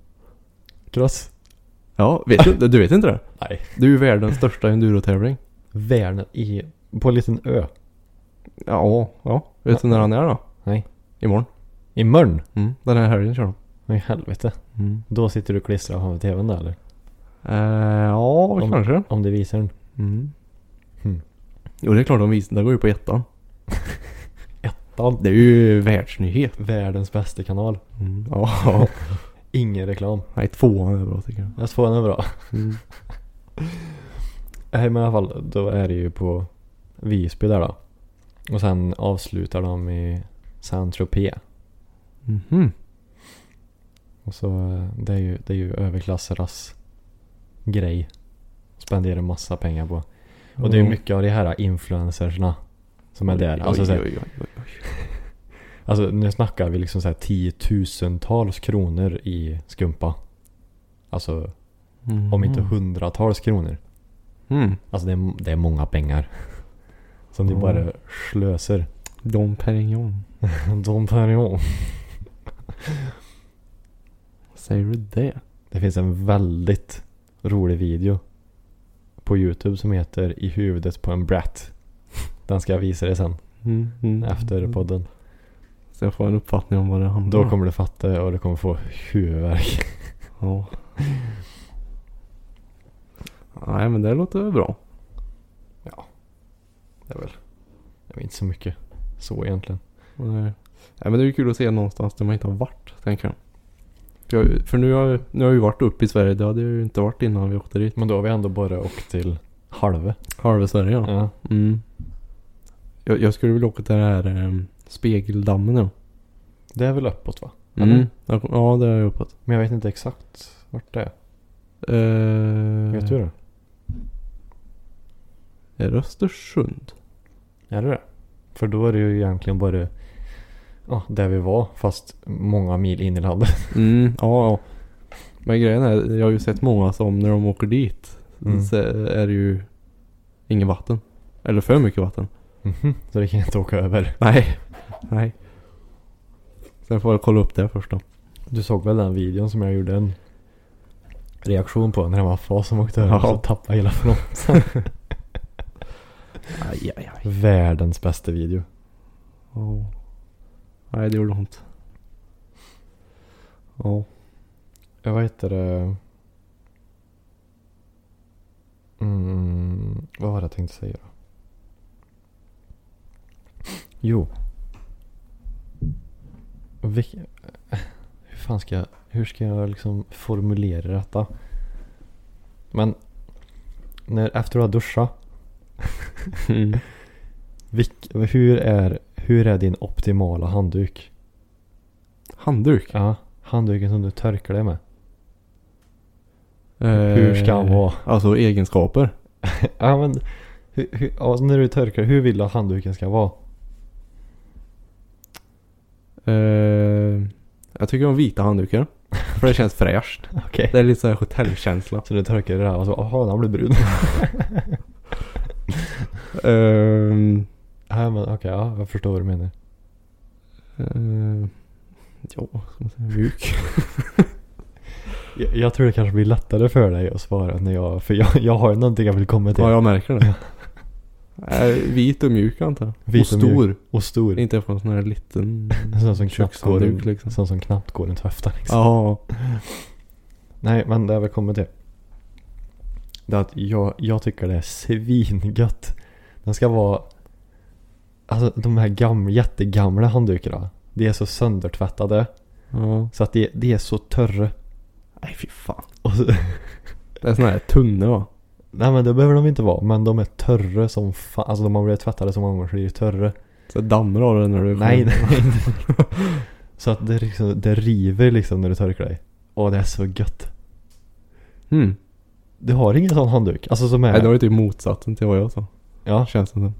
Kross? Ja, vet du, du vet inte det? Nej. Du är ju världens största endurotävling. Värn i... På en liten ö. Ja, ja. Vet du när han är då? Nej. Imorgon. I Mörn? Mm. Den här helgen kör de. Men i helvete. Mm. Då sitter du och klistrar framför tvn där eller? Eh, ja, Om- kanske. Om det visar den. Mm. Mm. Jo, det är klart de visar. Det går ju på ettan. Ja, Det är ju världsnyhet. världens bästa kanal. Mm. Ja. Ingen reklam. nej, tvåan är bra tycker jag. Jag får den är bra. Mm. Nej men i alla fall, då är det ju på Visby där då. Och sen avslutar de i Saint-Tropez. Mhm. Och så eh, det är ju, det är ju överklassernas grej. Spenderar massa pengar på. Och det är ju mycket av de här influencersna som är där. Alltså, oj, så här, oj, oj, oj, oj. Alltså nu snackar vi liksom så här tiotusentals kronor i skumpa. Alltså Mhm. om inte hundratals kronor. Mm. Alltså det är, det är många pengar. Som de Ja. bara slöser. Dom Perignon. De Perignon. Säger du det? Det finns en väldigt rolig video på Youtube som heter I huvudet på en brat. Den ska jag visa dig sen Mm. Mm. Mm. efter podden. Så jag får en uppfattning om vad det handlar Då om. kommer du fatta och du kommer få huvudvärk. Ja. Nej men det låter väl bra. Det är väl det är inte så mycket så egentligen. Nej. Nej men det är ju kul att se någonstans där man inte har varit tänker jag. För, jag, för nu, har, nu har jag ju varit uppe i Sverige. Det hade jag ju inte varit innan vi åkte dit. Men då har vi ändå bara åkt till halva. Halva Sverige ja. Ja. Mm. Jag, jag skulle vilja åka till den här ehm, spegeldammen ja. Det är väl uppåt va? Mm. Jag kom- Ja det har jag uppåt. Men jag vet inte exakt vart det är. Eh, Vet du det? Är det Östersund? Är det det? För då är det ju egentligen bara ja, där vi var fast många mil in i landet. Mm, ja, ja. Men grejen är, jag har ju sett många som när de åker dit Mm. så är det ju inget vatten. Eller för mycket vatten. Mhm, Så det kan jag inte åka över. Nej. Nej. Sen får jag kolla upp det först då. Du såg väl den videon som jag gjorde en reaktion på när det var FAS som åkte över Ja. och så tappade hela fronten. Aj, aj, aj. Världens bästa video. Ja. Nej, det gjorde ont. Ja. Ja, Eh, Vad heter det? Mm, vad var det jag tänkte säga då? Jo. Vilk, hur fan ska jag, hur ska jag liksom formulera detta? Men när, efter att ha duschat, Mm. vilk, hur är Hur är din optimala handduk? Handduk. Ja, handduken som du torkar dig med. Hur ska han Eh, vara? Alltså egenskaper. Ja men, hur, hur, ja, alltså, när du torkar, hur vill du att handduken ska vara? Eh, jag tycker om vita handdukar. För det känns fräscht. Okej. Det är lite såhär hotellkänsla. Så du torkar det där och så, jaha, den blir brun. Ehm, ja, men okej, ja, jag förstår vad du menar. eh, ja, vad ska man säga? Mjuk. Jag, jag tror det kanske blir lättare för dig att svara när jag, för jag, jag har ju någonting jag vill komma till. Ja, jag märker det. Eh, vit och mjuk antar jag. Vit och och mjuk. stor. Och stor. Inte från sån här liten... Sån som knappt går kökshandduk runt, liksom. sån som knappt går runt höften liksom. Ja. Nej, men det jag vill komma till. Det är att jag, jag tycker det är svingött. Den ska vara... Alltså de här gamla, jättegamla handdukarna. De är så söndertvättade. ja. Så att det, det är så törre. Nej fy fan. Och så, Det är sån här tunna va? nej men det behöver de inte vara. Men de är törre som fan. Alltså de har blivit tvättade så många gånger så det är törre. Så dammar av det när du Nej, nej. nej. så att det, liksom, det river liksom när du torkar dig. Och det är så gött. Mm. Du har ingen sån handduk? Alltså som är... Nej det var ju typ motsatsen till vad jag sa. Ja. Känns det som.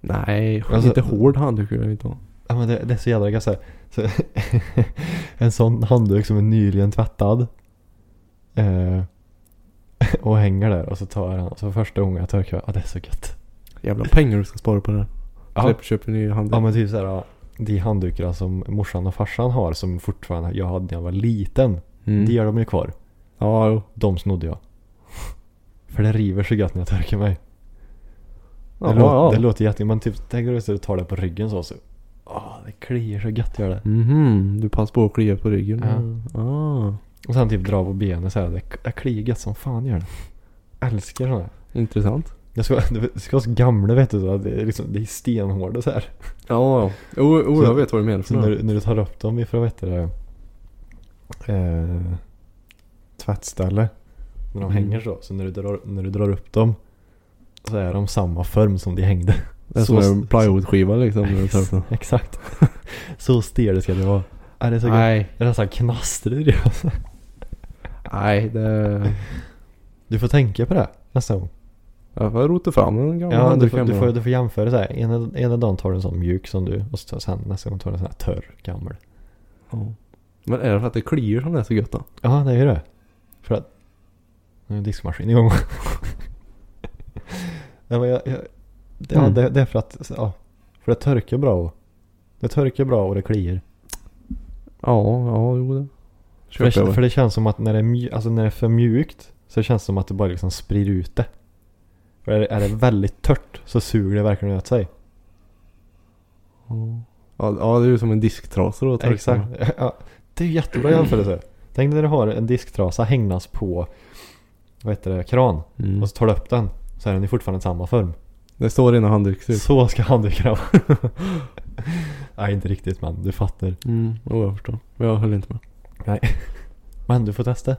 Nej, Alltså- inte hård handduk vill jag inte ha. Ja men det, det är så jävla gött så här. så En sån handduk som är nyligen tvättad. Eh, och hänger där och så tar jag den. Och så första gången jag torkar, ja ah, det är så gött. Jävla pengar du ska spara på det här. Ja, Släpp, köp en ny handduk. ja men typ såhär, ja, de handdukarna som morsan och farsan har som fortfarande jag hade när jag var liten. mm. De har de ju kvar. Ja, jo. De snodde jag. För det river så gött när jag torkar mig. Det, Ja, låter, ja. det låter jättegött. Men typ, tänk dig att du tar det på ryggen så. så. Ah, det kliar så gött gör det. Mhm, du passar på att klia på ryggen. Ah, Och sen typ dra på benen så här. Det, det kliar gött som fan gör det. Älskar sådana. intressant. Jag ska, det ska vara så gamla vet du. så att Det är, liksom, det är stenhårda så här. Ja, ja. Jo, jo, Så- jag vet vad du menar Så för när, något. du- när du tar upp dem ifrån vet du, det, eh, tvättställe. När de Mm. hänger så. Så när du, drar, när du drar upp dem. Så är de samma form som de hängde. Det är så- som en plywoodskiva liksom. När du tar upp den. Exakt. så stel ska det vara. Är det är så gött? Nej, Det är nästan knaster i det. nej. Det... Du får tänka på det nästa gång. Jag får rota fram den gamla Ja, du, får, handduken du, bara. får, du får jämföra så här. Ena, ena dagen tar du en sån mjuk som du och så- sen nästa gång tar du en sån här törr gammal. Ja. Men är det för att det kliar som det är så gött då? Ja, det är ju det. För att... Nu är diskmaskinen igång. Nej, men jag, jag, det, ja, Mm. det, det är för att... Ja, för det torkar bra. och- Det torkar bra och det kliar. Ja, ja, jo det. För det, Köper för jag väl. det känns som att när det, är mju- alltså när det är för mjukt så känns det som att det bara liksom sprider ut det. För är det, är det väldigt tört så suger det verkligen åt sig. Ja, ja, det är ju som en disktrasa då. torkar Exakt. man. Ja, det är ju jättebra jämförelse. Tänk dig när du har en disktrasa hängnas på vad heter det, kran Mm. och så tar du upp den så är den ju fortfarande i samma form. Det står innan handduken ut. Så ska handduken vara. Nej, inte riktigt men du fattar. Mm, jo, jag förstår. Men jag höll inte med. Men du får testa.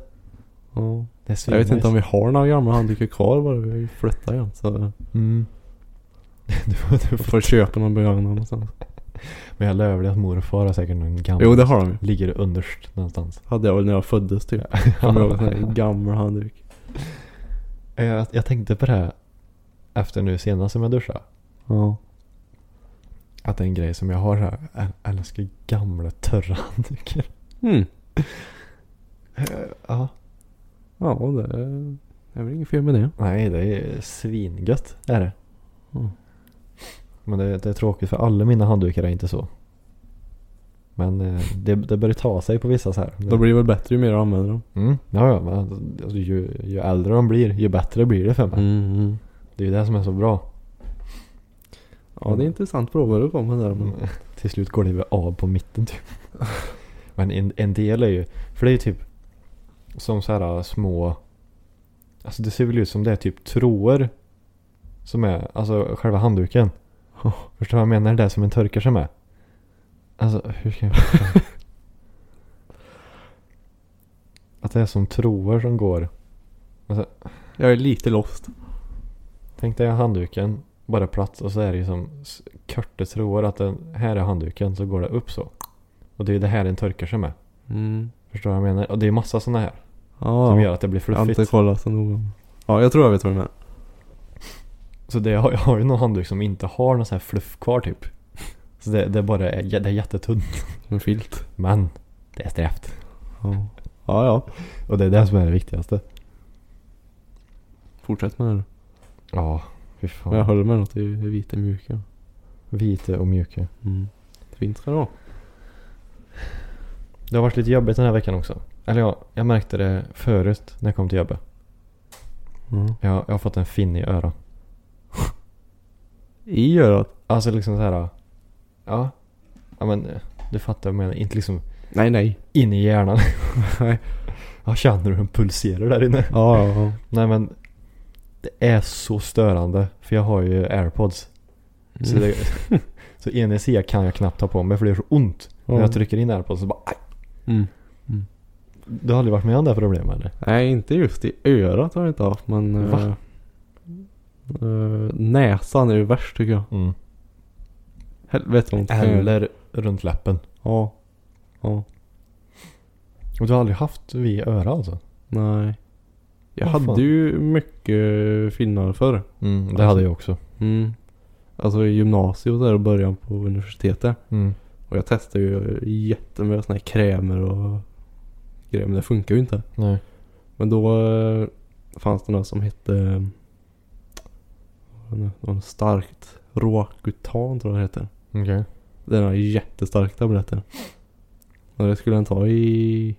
Ja. Det är Jag vet inte om svinnice. vi har några gamla handdukar kvar bara. Vi har ju flyttat igen. Så Mm. Du får, du får. vi får köpa någon begagnad någonstans. Men jag lovar dig att mor och far har säkert någon gammal. Jo, det har de ju. Ligger underst någonstans. Hade jag väl när jag föddes typ. Kommer jag ihåg en sån här gammal handduk. Eh, Jag, jag tänkte på det här efter nu senast som jag duschade. Ja. Att det är en grej som jag har så här. Jag älskar gamla törra handdukar. Mm. Ja. Ja, det är, det är väl inget fel med det. Nej, det är svingött. Är det. Mm. Men det, det är tråkigt för alla mina handdukar är inte så. Men eh, det, det börjar ta sig på vissa så här. De blir väl bättre ju mer du använder dem. Mm, ja, ja. Men, alltså, ju, ju äldre de blir, ju bättre blir det för mig. Mm. Det är ju det som är så bra. Ja, det är intressant frågor du kommer där. Men... Till slut går det väl av på mitten typ. Men en, en del är ju, för det är ju typ som så här äh, små, alltså det ser väl ut som det är typ trådar som är, alltså själva handduken. Förstår du vad jag menar? Det där som en torkar sig med. Alltså hur ska jag förklara? Att det är som trådar som går. Jag är lite lost. Tänk dig handduken bara plats och så är det ju som s- Körte tror att den, här är handduken så går det upp så. Och det är ju det här den torkar sig med. Mm. Förstår du vad jag menar? Och det är massa sådana här som Ja, gör att det blir jag har inte fluffigt. kollat så noga. Ja, jag tror jag vet vad du menar. Så det, jag har- jag har ju någon handduk som inte har någon sån här fluff kvar typ. Så det, det bara är, det är jättetunt. Som en filt. Men det är strävt. Ja. ja, ja. Och det är det som är det viktigaste. Fortsätt med det nu. Ja, fy Men jag fan. håller med något. Det är det är vita mjuka. Vita och mjuka. Mm. Fint ska det vara. Det har varit lite jobbigt den här veckan också. Eller ja, jag märkte det förut när jag kom till jobbet. Mm. Jag, jag har fått en fin i örat. I örat? Alltså liksom så här. Ja. Ja men eh, du fattar vad jag menar. Inte liksom Nej, nej. in i hjärnan. Nej. Jag känner hur den pulserar där inne. Ja, ja, ja. Nej men. Det är så störande. För jag har ju airpods. Så, det, så ena sidan kan jag knappt ta på mig för det gör så ont. När jag trycker in airpods så bara aj. Mm. Du har aldrig varit med om det här problemet eller? Nej, inte just i örat har jag inte haft, men... Va? eh, eh, näsan är ju värst tycker jag. Mm. Helvete vad ont det kan göra. Eller runt läppen. Ja. Ja. Och du har aldrig haft vi i öra alltså? Nej. Jag Vad fan? hade ju mycket finnar förr. Mm, det hade jag också. Mm. Alltså i gymnasiet och där och början på universitetet. Mm. Och jag testade ju jättemycket sådana här krämer och grejer. Men det funkar ju inte. Nej. Men då eh, fanns det något som hette... eh, vad var det nu? Det var något starkt. Roakutan tror jag det heter. Okej. Det är några jättestarka tabletter. Och det skulle den ta i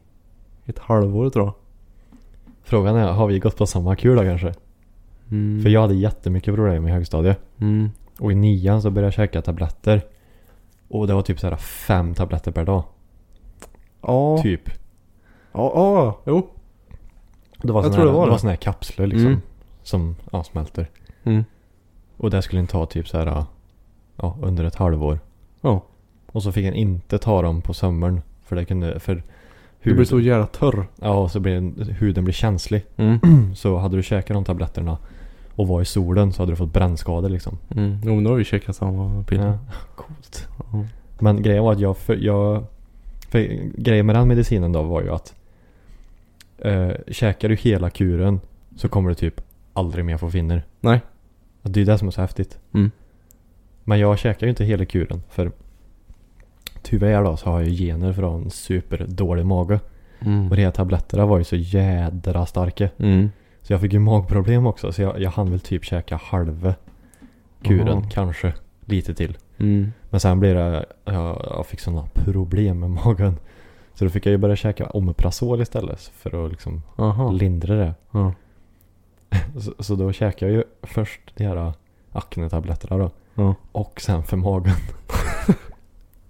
ett halvår tror jag. Frågan är, har vi gått på samma kur då kanske? Mm. För jag hade jättemycket problem i högstadiet. Mm. Och i nian så började jag käka tabletter. Och det var typ så här fem tabletter per dag. Ja. Typ. Ja, ja, jo. Det var Jag såna tror här, det var det. var såna här kapslar liksom. Mm. Som ja, smälter. Mm. Och det skulle en ta typ så här ja, under ett halvår. Ja. Och så fick en inte ta dem på sommaren. För det kunde, för Du blir så jävla törr. Ja, och så blir den- huden blir känslig. Mm. Så hade du käkat de tabletterna och var i solen så hade du fått brännskador liksom. Mm. Jo, men då har vi käkat samma piller. Ja. Coolt. Ja. Men grejen var att jag... För, jag för grejen med den medicinen då var ju att eh, käkar du hela kuren så kommer du typ aldrig mer få finner. Nej. Och det är det som är så häftigt. Mm. Men jag käkar ju inte hela kuren för tyvärr då så har jag ju gener från superdålig mage. Mm. Och de här tabletterna var ju så jädra starka. Mm. Så jag fick ju magproblem också så jag, jag hann väl typ käka halva kuren Aha. kanske. Lite till. Mm. Men sen blev det, jag, jag fick sådana problem med magen. Så då fick jag ju börja käka Omeprazol istället för att liksom Aha. lindra det. Ja. Så, så då käkade jag ju först de här aknetabletterna då. Ja. Och sen för magen.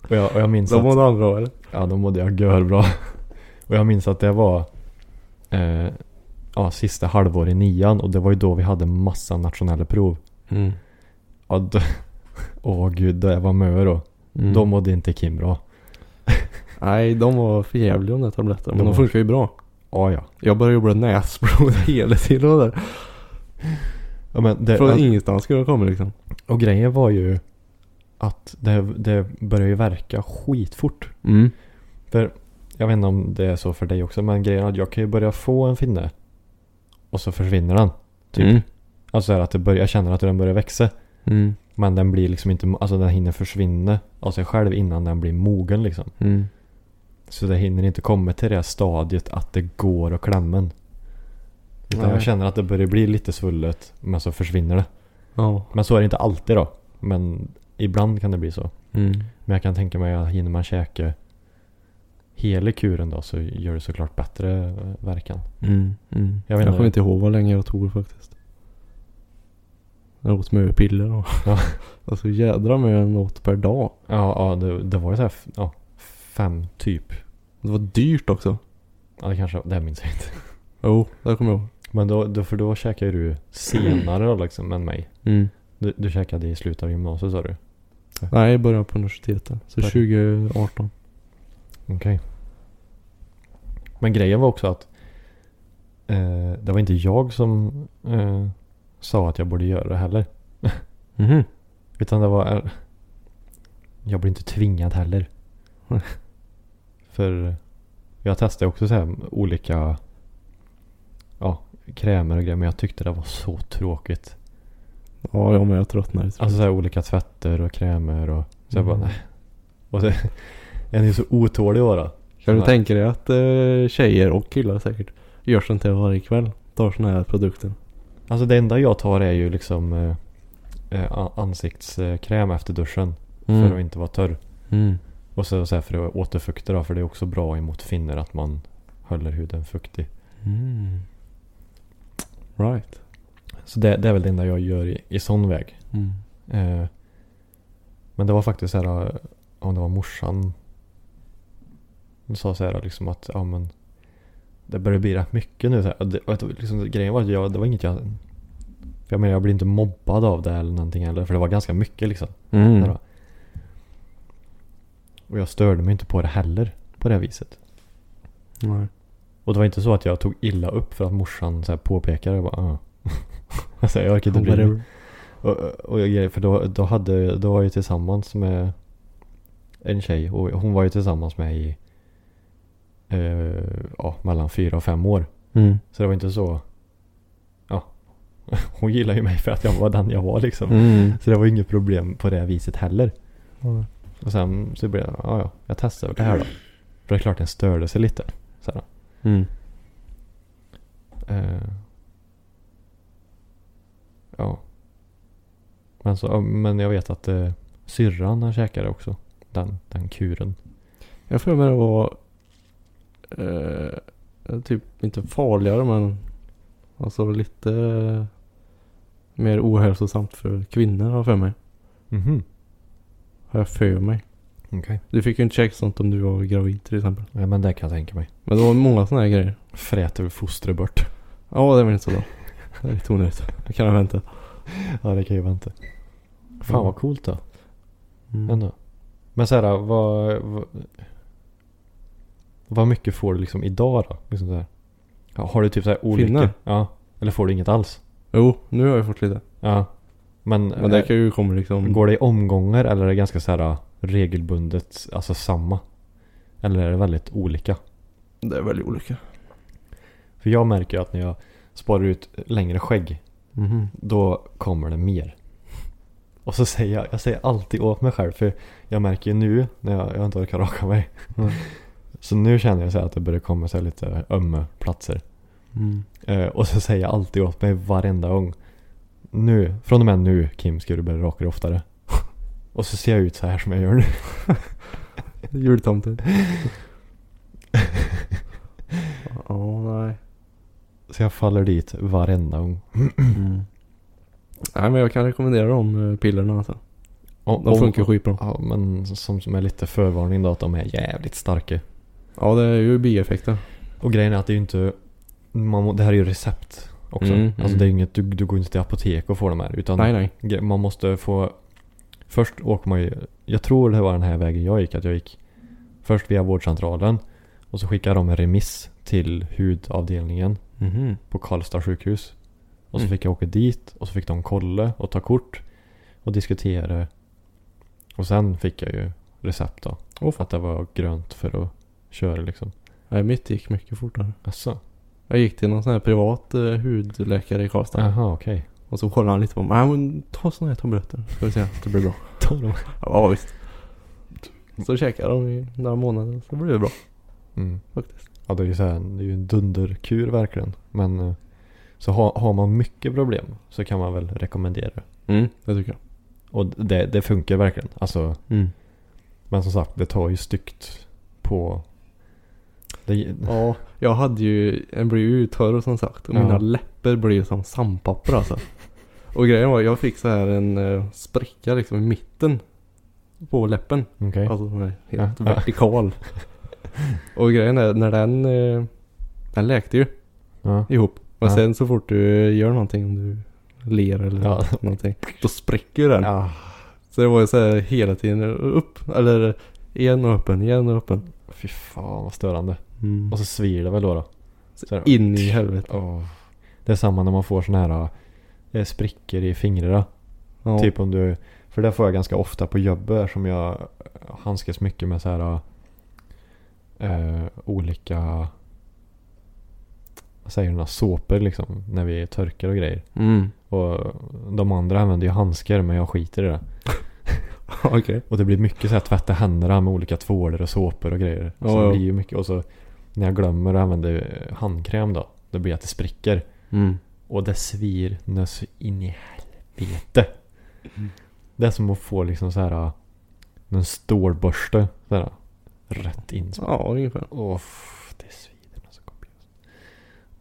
och, jag, och jag minns Då att, mådde han bra eller? ja då mådde jag görbra. och jag minns att det var eh, ja, sista halvår i nian och det var ju då vi hade massa nationella prov. Mm. Ja, då- Åh gud, det var mö då. Mm. Då mådde inte Kim bra. Nej, de var för jävliga de där tabletterna. Men De de var- funkar ju bra. Ja, ja. Jag började jobba näsblod hela tiden och där. Ja, men det, Från att- ingenstans skulle de komma liksom. och grejen var ju att det, det började ju verka skitfort. Mm. För jag vet inte om det är så för dig också men grejen är att jag kan ju börja få en finne och så försvinner den. Typ. Mm. Alltså är att det börjar, jag känner att den börjar växa. Mm. Men den blir liksom inte, alltså den hinner försvinna av sig själv innan den blir mogen liksom. Mm. Så det hinner inte komma till det här stadiet att det går att klämma en. Utan Nej. jag känner att det börjar bli lite svullet men så försvinner det. Ja. Men så är det inte alltid då. Men ibland kan det bli så. Mm. Men jag kan tänka mig att hinner man käka hela kuren då så gör det såklart bättre eh, verkan. Mm. Mm. Jag Jag, vet inte. kommer inte ihåg vad länge jag tog faktiskt. Jag åt möpiller och... Ja. alltså jädra mig jag åt per dag. Ja, ja det, det var ju såhär f- ja, fem typ. Det var dyrt också. Ja, det kanske det minns jag inte. Jo, det kommer jag ihåg. Men då, då, för då käkar ju du senare då liksom än mig. Mm. Du, du käkade i slutet av gymnasiet sa du? Nej, i början på universitetet. Så Början. 2018. Okej. Men grejen var också att eh, det var inte jag som eh, sa att jag borde göra det heller. Mhm. Utan det var... Jag blir inte tvingad heller. Nej. För jag testade också så här olika ja, krämer och grejer. Men jag tyckte det var så tråkigt. Ja, jag med. Jag tröttnade. tror jag. Alltså så här olika tvätter och krämer och så jag bara Mm. nej. Och så, en är så otålig bara. Kan du Nej. tänka dig att eh, tjejer och killar säkert gör sånt här varje kväll? Tar såna här produkter. Alltså det enda jag tar är ju liksom eh, eh, a- ansiktskräm efter duschen. För att inte vara torr. Mm. Och så, så här för att återfukta då, för det är också bra emot finner att man håller huden fuktig. Mm. Right. Så det, det är väl det enda jag gör i, i sån väg. Mm. Eh, men det var faktiskt så här, eh, om det var morsan. Hon sa så här liksom att, ja men. Det börjar bli rätt mycket nu. Så här. Och Det, och att, liksom, grejen var att jag, det var inget jag. För jag menar jag blir inte mobbad av det eller någonting heller. För det var ganska mycket liksom. Mm. Där. Och jag störde mig inte på det heller. På det viset. Nej. Och det var inte så att jag tog illa upp för att morsan så här påpekade. Jag bara, ah. alltså, jag orkar inte bry mig. Whatever. Och, och jag grejer, för då, då, hade, då var jag ju tillsammans med en tjej och hon var ju tillsammans med i eh, ja, mellan fyra och fem år. Mm. Så det var inte så. Ja. Hon gillade ju mig för att jag var den jag var liksom. Mm. Så det var ju inget problem på det viset heller. Ja. Och sen så blev jag, ja ja, jag testar väl det här då. För det är klart den störde sig lite. Så här, Mm. eh, ja. Men, så, ja, men jag vet att eh, syrran han käkade också. Den, den kuren. Jag får mig det var eh, typ inte farligare men alltså lite mer ohälsosamt för kvinnor har jag för mig. Mhm. Har jag för mig. Okej. Du fick ju inte checka sånt om du var gravid till exempel. Ja, men det kan jag tänka mig. Men det var många sådana här grejer. Fräter väl fostret bort. Ja, det var inte så bra. Det är lite onödigt. Det kan jag vänta. ja, det kan ju vänta. Fan vad coolt då. Mm. Ändå. Men så här, eh, vad, vad, vad mycket får du liksom idag då? Liksom så här. Ja, Har du typ så här olika? Finnar? Ja. Eller får du inget alls? Jo, nu har jag fått lite. Ja. Men, eh, Men det kan ju komma liksom. Går det i omgångar eller är det ganska så här äh, regelbundet, alltså samma? Eller är det väldigt olika? Det är väldigt olika. För jag märker ju att när jag sparar ut längre skägg, Mhm. då kommer det mer. Och så säger jag, jag säger alltid åt mig själv, för jag märker ju nu när jag, jag inte orkar raka mig. Mm. Så nu känner jag så här att det börjar komma så här lite ömma platser. Mm. Eh, och så säger jag alltid åt mig varenda gång. Nu, från och med nu Kim ska du börja raka dig oftare. och så ser jag ut så här som jag gör nu. Jultomten. Ja, nej. Så jag faller dit varenda gång. Mm. Nej, men jag kan rekommendera de eh, pillerna alltså. Och, De funkar skitbra. Ja, men som, som är lite förvarning då att de är jävligt starka. Ja, det är ju bieffekter. Och grejen är att det är ju inte... Man, må- det här är ju recept också. Mm, alltså mm. det är ju inget... Du, du går inte till apotek och får de här. Utan Nej, nej. gre- man måste få... Först åker man ju... Jag tror det var den här vägen jag gick. Att jag gick först via vårdcentralen. Och så skickade de en remiss till hudavdelningen Mhm. på Karlstad sjukhus. Och så Mm. fick jag åka dit och så fick de kolla och ta kort och diskutera. Och sen fick jag ju recept då. Åh, Att det var grönt för att köra liksom. Nej, mitt gick mycket fortare. Jaså? Jag gick till någon sån här privat eh, hudläkare i Karlstad. Jaha, okej. Och så kollade han lite på mig. Nej, men ta såna här tabletter. Ska vi se att det blir bra. Ta dem. Ja visst. Så käkade de i några månader så blev det bra Mm. faktiskt. Ja, det är ju så här, det är ju en dunderkur verkligen. Men eh, så har, har man mycket problem så kan man väl rekommendera det. Mm, det tycker jag. Och det, det funkar verkligen. Alltså, Mm. men som sagt, det tar ju styckt på... Det, Ja, jag hade ju, en blev ju torr som sagt och Ja. mina läppar blev ju som sandpapper alltså. Och grejen var jag fick så här en eh, spricka liksom i mitten på läppen. Okej. Alltså den är helt Ja. vertikal. och grejen är när den, eh, den läkte ju Ja. ihop. Men Ja. sen så fort du gör någonting om du ler eller Ja. någonting. Då spricker ju den. Ja. Så det var ju så här hela tiden upp, eller igen och öppen, igen och öppen. Fy fan vad störande. Mm. Och så svir det väl då. då. Så här, In i helvete. åh. Det är samma när man får såna här eh, sprickor i fingrarna. Ja. Typ om du, för det får jag ganska ofta på jobbet som jag handskas mycket med så här eh, olika vad säger du, såpor liksom när vi törkar och grejer. Mm. Och de andra använder ju handskar men jag skiter i det. Okej. Och det blir mycket så här tvätta händerna med olika tvålar och såpor och grejer. Så Ja, ja. det blir ju mycket och så när jag glömmer att använda eh, handkräm då. Det blir att det spricker. Mm. Och det svir nu så in i helvete. Mm. Det är som att få liksom så här en stålborste så här, eh, rätt in. Ja, ungefär. Åh, f- det svider något så kopiöst.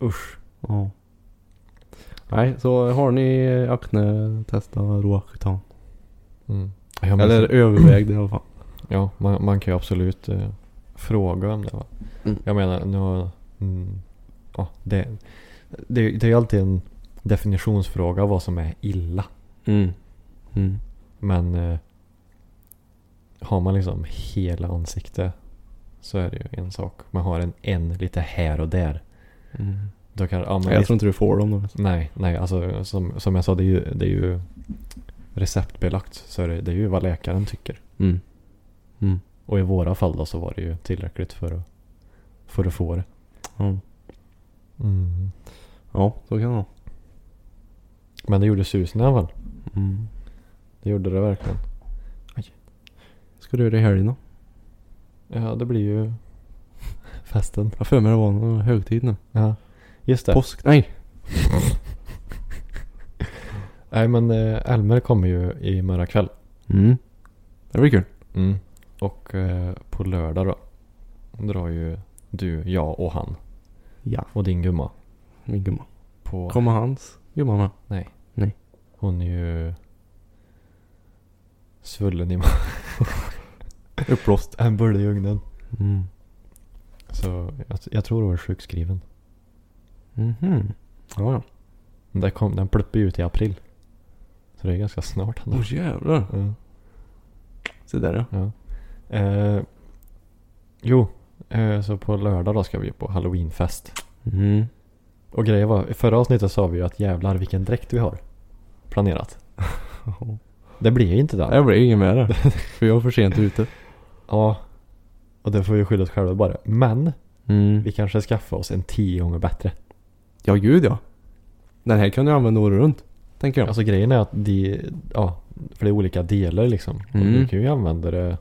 Usch. Ja. Nej, så har ni akne, testa Roacutan. Mm. Ja, men, Eller överväg det i alla fall. Ja, man, man kan ju absolut eh, fråga om det. Va? Mm. Jag menar, nu, mm, ja, det, det, det är ju alltid en definitionsfråga vad som är illa. Mm. Mm. Men eh, har man liksom hela ansiktet så är det ju en sak. Man har en, en lite här och där. Mm. Då kan, ja, men Nej, jag visst- tror inte du får dem då. Nej, nej alltså som, som jag sa, det är ju, det är ju receptbelagt. Så är det, det är ju vad läkaren tycker. Mm. Mm. Och i våra fall då så var det ju tillräckligt för att, för att få det. Ja. Mm. ja, så kan det vara. Men det gjorde susen i alla fall. Mm. Det gjorde det verkligen. Ska du göra det i helgen då? Ja, det blir ju festen. Jag har för mig det var någon högtid nu. Ja, just det. Påsk? Nej! Nej men eh, Elmer kommer ju i morgon kväll. Mm. Det blir kul. Och eh, på lördag då drar ju du, jag och han Ja. och din gumma Min gumma. på... Kommer hans gumma med? Nej. Nej. Hon är ju svullen i Uppblåst. en bulle i ugnen. Mm. Så jag, jag tror hon var sjukskriven. Mhm. Ja, ja. Men det kom, den pluppade ju ut i april. Så det är ganska snart ändå. Åh jävlar. Ja. Se där ja. Ja. Eh, jo, eh, så på lördag då ska vi på halloweenfest. Mm. Och grejen var, i förra avsnittet sa vi ju att jävlar vilken dräkt vi har planerat. Det blir ju inte det. Jag blir ingen med det. För jag är för sent ute. Ja. Och det får vi skylla oss själva bara. Men Mm. vi kanske skaffar oss en tio gånger bättre. Ja, gud ja. Den här kan du använda året runt. Tänker jag. Alltså grejen är att de, ja, för det är olika delar liksom. Mm. Och du kan ju använda det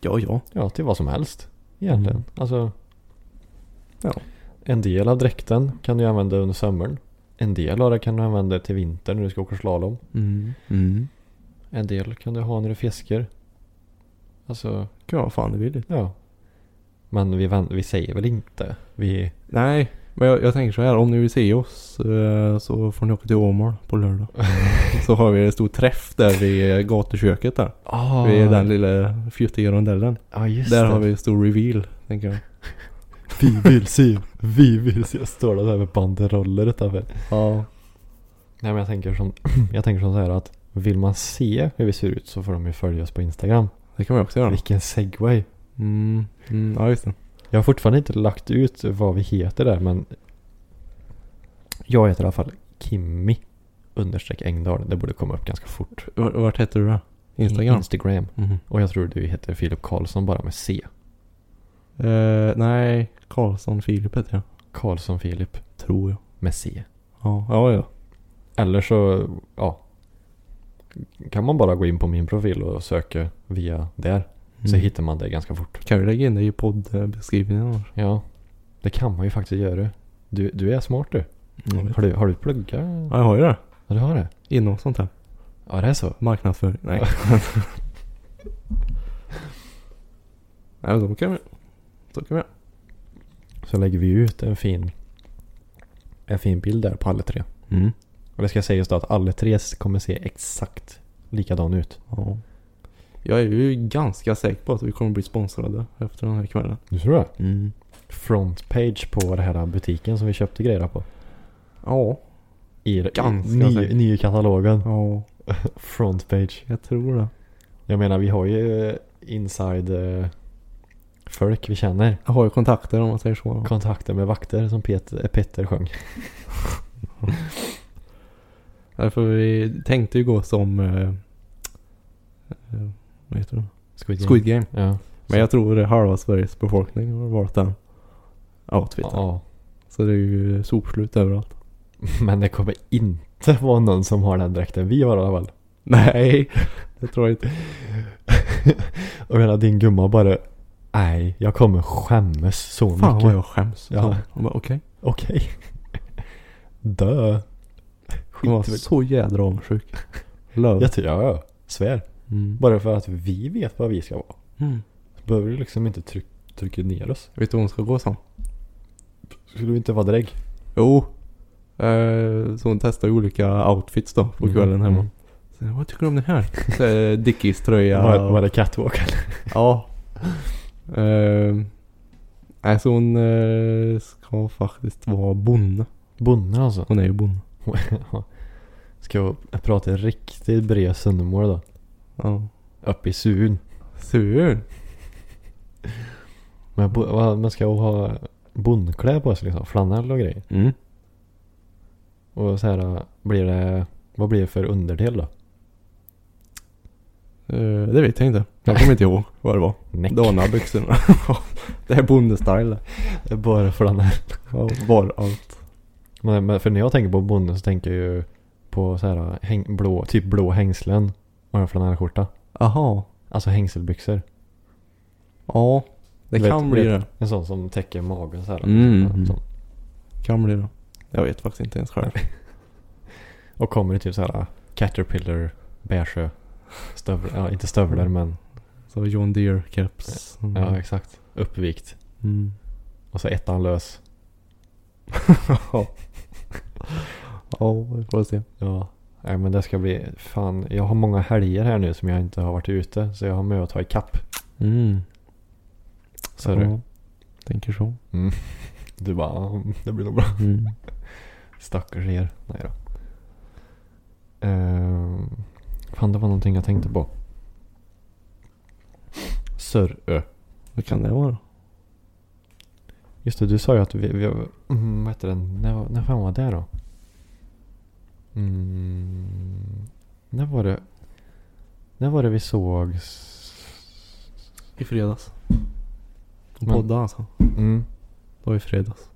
ja, ja. ja, till vad som helst egentligen. Mm. Alltså, Ja. En del av dräkten kan du använda under sommaren. En del av det kan du använda till vintern när du ska åka slalom. Mm. Mm. En del kan du ha när du fiskar. Alltså, Kan jag fan det vill. ja. Men vi, vän- vi säger väl inte. Vi, Nej, men jag, jag tänker så här. Om ni vill se oss eh, så får ni åka till Åmål på lördag. så har vi en stor träff där vid eh, gatuköket Ah, där. oh, Vid den lilla fjuttiga rondellen. ja, just Där det. har vi en stor reveal, tänker jag. Vi vill se. Vi vill se. Står det där med banderoller utanför. Ja. Nej men jag tänker som, jag tänker som så här att vill man se hur vi ser ut så får de ju följa oss på Instagram. Det kan man också göra. Vilken segway. Mm. Mm. Ja, just det. Jag har fortfarande inte lagt ut vad vi heter där men Jag heter i alla fall Kimmi understreck Engdahl. Det borde komma upp ganska fort. V- Vart heter du då? Instagram? Instagram. Mhm. Och jag tror du heter Filip Karlsson bara med C. Eh, nej, Karlsson Filip heter jag. Karlsson Filip Tror jag. med C. Ja, ja, ja. Eller så, ja. Kan man bara gå in på min profil och söka via där. Så Mm. hittar man det ganska fort. Kan vi lägga in det i poddbeskrivningen annars? Ja. Det kan man ju faktiskt göra. Du, du är smart du. Ja, Har du, har du pluggat? Ja, jag har ju det. du har det? Inom sånt här. Ja, det är så. Marknadsföring. Nej. nej, men då kan vi. Då kan vi. Så lägger vi ut en fin En fin bild där på alla tre. Mm. Och det ska sägas då att alla tre kommer se exakt likadan ut. Ja. Jag är ju ganska säker på att vi kommer bli sponsrade efter den här kvällen. Du tror det? Mm. Frontpage på den här butiken som vi köpte grejer på. Ja. I Ganska ny, säkert. nya katalogen. Ja, Frontpage. jag tror det. Jag menar vi har ju eh, inside eh, folk vi känner. Jag har ju kontakter om man säger så. Kontakter med vakter som Peter, eh, Petter sjöng. Därför vi tänkte ju gå som... eh, eh, vad heter det? Squid Squid Game. Ja. Men jag tror det är halva Sveriges befolkning har valt den outfiten. ja. Så det är ju sopslut överallt. Men det kommer inte vara någon som har den dräkten vi har i alla fall. Nej, det tror jag inte. Och menar din gumma bara Nej, jag kommer skämmas så Fan mycket. vad jag skäms. Ja. Ja. Hon bara okej. Okej. Dö. Hon var Skit i- så jädra avundsjuk. Love. Jag tror jag ja, svär. Mm. Bara för att vi vet vad vi ska vara. Mm. Så behöver du liksom inte tryck, trycka ner oss. Vet du vad hon ska gå som? Skulle du inte vara drägg? Jo. Eh, så hon testar ju olika outfits då på Mm. kvällen hemma. Mm. Så, vad tycker du om det här? Så, eh, Dickies tröja. Var, var det catwalk eller? Ja. Eh, alltså hon eh, ska faktiskt vara bonde. Bonde alltså. Hon är ju bonde. ska jag prata riktigt bred sundemål då? Ja. Upp i sun. Sur. Men, bo, vad- men ska jag ha bondkläder på sig liksom? Flanell och grejer? Mm. Och så här, blir det... Vad blir det för underdel då? Eh, det vet jag inte. Jag kommer inte ihåg vad det var. Näck. Dana byxorna. det är bondestyle. Det är Bara flanell. Ja, var allt. Men, men för när jag tänker på bonde så tänker jag ju på så här, häng, blå, typ blå hängslen och en flanellskjorta. Aha. Alltså hängselbyxor. Ja. Det Vet- kan bli vet- det. En sån som täcker magen så här. Mm. Sån. Kan bli det. Jag vet faktiskt inte ens själv. Och kommer i typ så här Caterpillar, beige stövlar. Ja, inte stövlar men. Så John Deere caps. Mm. Ja, exakt. Uppvikt. Mm. Och så ettan lös. ja. ja, vi får se. Ja. Nej men det ska bli fan. Jag har många helger här nu som jag inte har varit ute. Så jag har med att ta ikapp. Mm. Så du. Ja, Tänker så. Du bara, "Ja, det blir nog bra. Mm. Stackars er. Nej då. Ehm, fan det var någonting jag tänkte på. Sörö. Vad kan det vara? Just det, du sa ju att vi... vi mm, vad heter den? När, var- när fan var det då? Mm, när var det... När var det vi såg... I fredags. Och Men- podda alltså. Mm. Det var i fredags.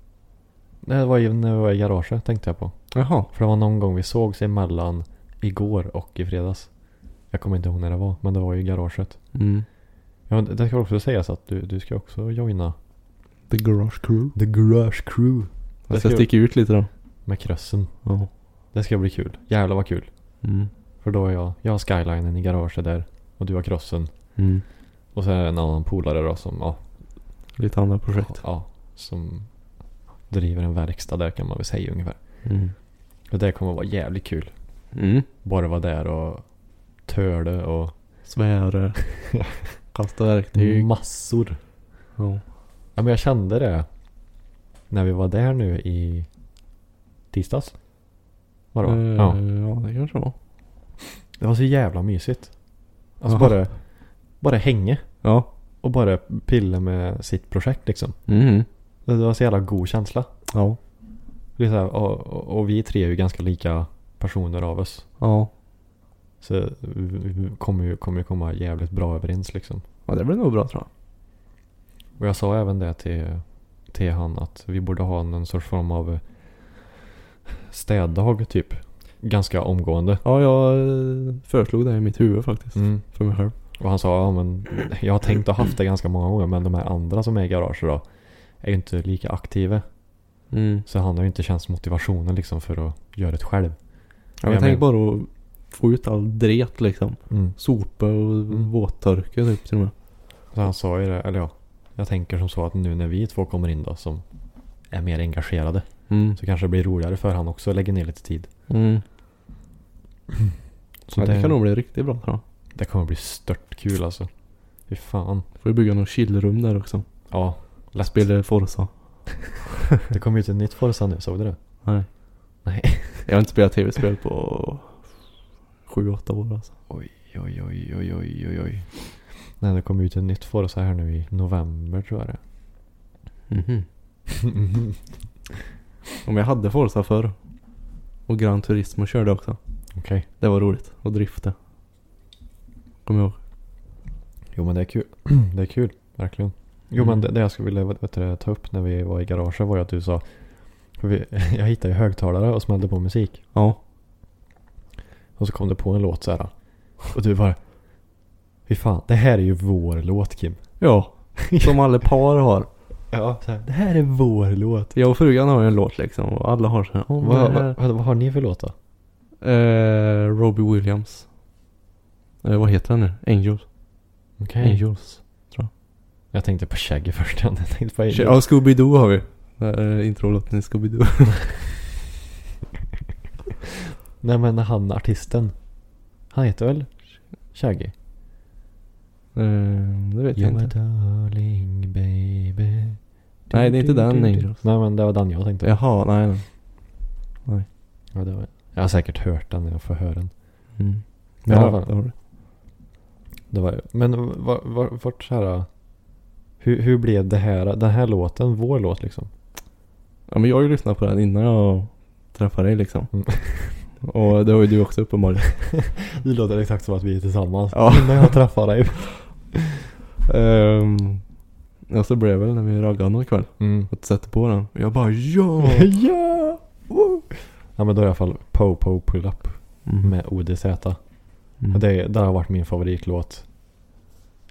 Nej, Det var ju när vi var i garaget tänkte jag på. Jaha. För det var någon gång vi sågs emellan igår och i fredags. Jag kommer inte ihåg när det var, men det var ju i garaget. Mm. Ja, men det ska också sägas att du, du ska också joina The Garage Crew. The Garage Crew Jag ska ska jag- sticka ut lite då. med krossen. Ja. Det ska bli kul. Jävlar vad kul. Mm. För då är jag, jag har skylinen i garaget där och du har krossen. Mm. Och så är det en annan polare då som, ja, Lite andra projekt. ja, som driver en verkstad där kan man väl säga ungefär. Mm. Och det kommer vara jävligt kul. Mm. Bara vara där och töle och Sväre. eh, Kasta verktyg. massor. Mm. Ja. Ja men jag kände det när vi var där nu i tisdags. Var det va? Eh, Ja. ja, det kanske var. Det var så jävla mysigt. Alltså Ja. bara, bara hänga. Ja. och bara pilla med sitt projekt liksom. Mm. Det var så jävla god känsla. Ja. Det är så här, och, och- och vi tre är ju ganska lika personer av oss. Ja. Så vi vi kommer ju kommer ju komma jävligt bra överens liksom. Ja, det blir nog bra tror jag. Och jag sa även det till, till han att vi borde ha någon sorts form av städdag typ. Ganska omgående. Ja, jag eh, föreslog det i mitt huvud faktiskt. Mm. För mig själv. Och han sa ja men jag har tänkt att haft det ganska många gånger men de här andra som är i garaget då är ju inte lika aktiva. Mm. Så han har ju inte känt motivationen liksom för att göra det själv. Ja, Jag jag tänker men- bara att få ut all dret liksom. Sopor och Mm. våttorkar typ till och med. Så han sa ju det, eller ja. Jag tänker som så att nu när vi två kommer in då som är mer engagerade Mm. så kanske det blir roligare för han också att lägga ner lite tid. Mm. Så Ja, det kan nog bli riktigt bra tror jag. det kommer bli stört kul alltså. Fy fan. Får ju bygga något chillrum där också. Ja, lätt. Spela Forza. Det kommer ju ut ett nytt Forza nu, såg du det? Nej. Nej. Jag har inte spelat tv-spel på 7-8 år alltså. Oj, oj, oj, oj, oj, oj. Nej, det kommer ut ett nytt Forza här nu i november tror jag det är. Mhm. Om jag hade Forza förr. Och Gran Turismo körde också. Okej. Det var roligt att drifta. Kommer jag ihåg. Jo men det är kul. det är kul, verkligen. Jo Mm. men det, det jag skulle vilja vet vet du, det, ta upp när vi var i garaget var ju att du sa. För vi, jag hittade ju högtalare och smällde på musik. Ja. Och så kom det på en låt så här. Och du bara. Fy fan, det här är ju vår låt Kim. Ja. Som alla par har. Ja, så här, det här är vår låt. Jag och frugan har ju en låt liksom och alla har sina. Oh, Vad, vad, vad, vad har ni för låt då? Eh, Robbie Williams. Eh, vad heter den nu? Angels. Okej. Angels. Jag tänkte på Shaggy först. Jag tänkte på Angel. Ja, Scooby-Doo har vi. Eh, Introlåten i Scooby-Doo. Nej men han artisten. Han heter väl Shaggy? Eh, det vet jag You're my inte. darling baby. Nej, det är inte den Angels. Nej men det var den jag tänkte på. Jaha, nej. nej. Ja, det var... Jag har säkert hört den när jag får höra den. Mm. Men Ja, det var- det har du. Det var... Men var, var, vart så här... Hur, hur blev det här, den här låten vår låt liksom? Ja men jag har ju lyssnat på den innan jag träffade dig liksom. Mm. Och det har ju du också uppenbarligen. Det låter exakt som att vi är tillsammans. Ja. Innan jag träffade dig. Ehm, ja så blev det väl när vi raggade någon kväll. Mm. Att sätta på den. Och jag bara ja! ja! Woo! Ja men då är i alla fall Po Po Pull Up med ODZ. Och Mm. Det, det har varit min favoritlåt.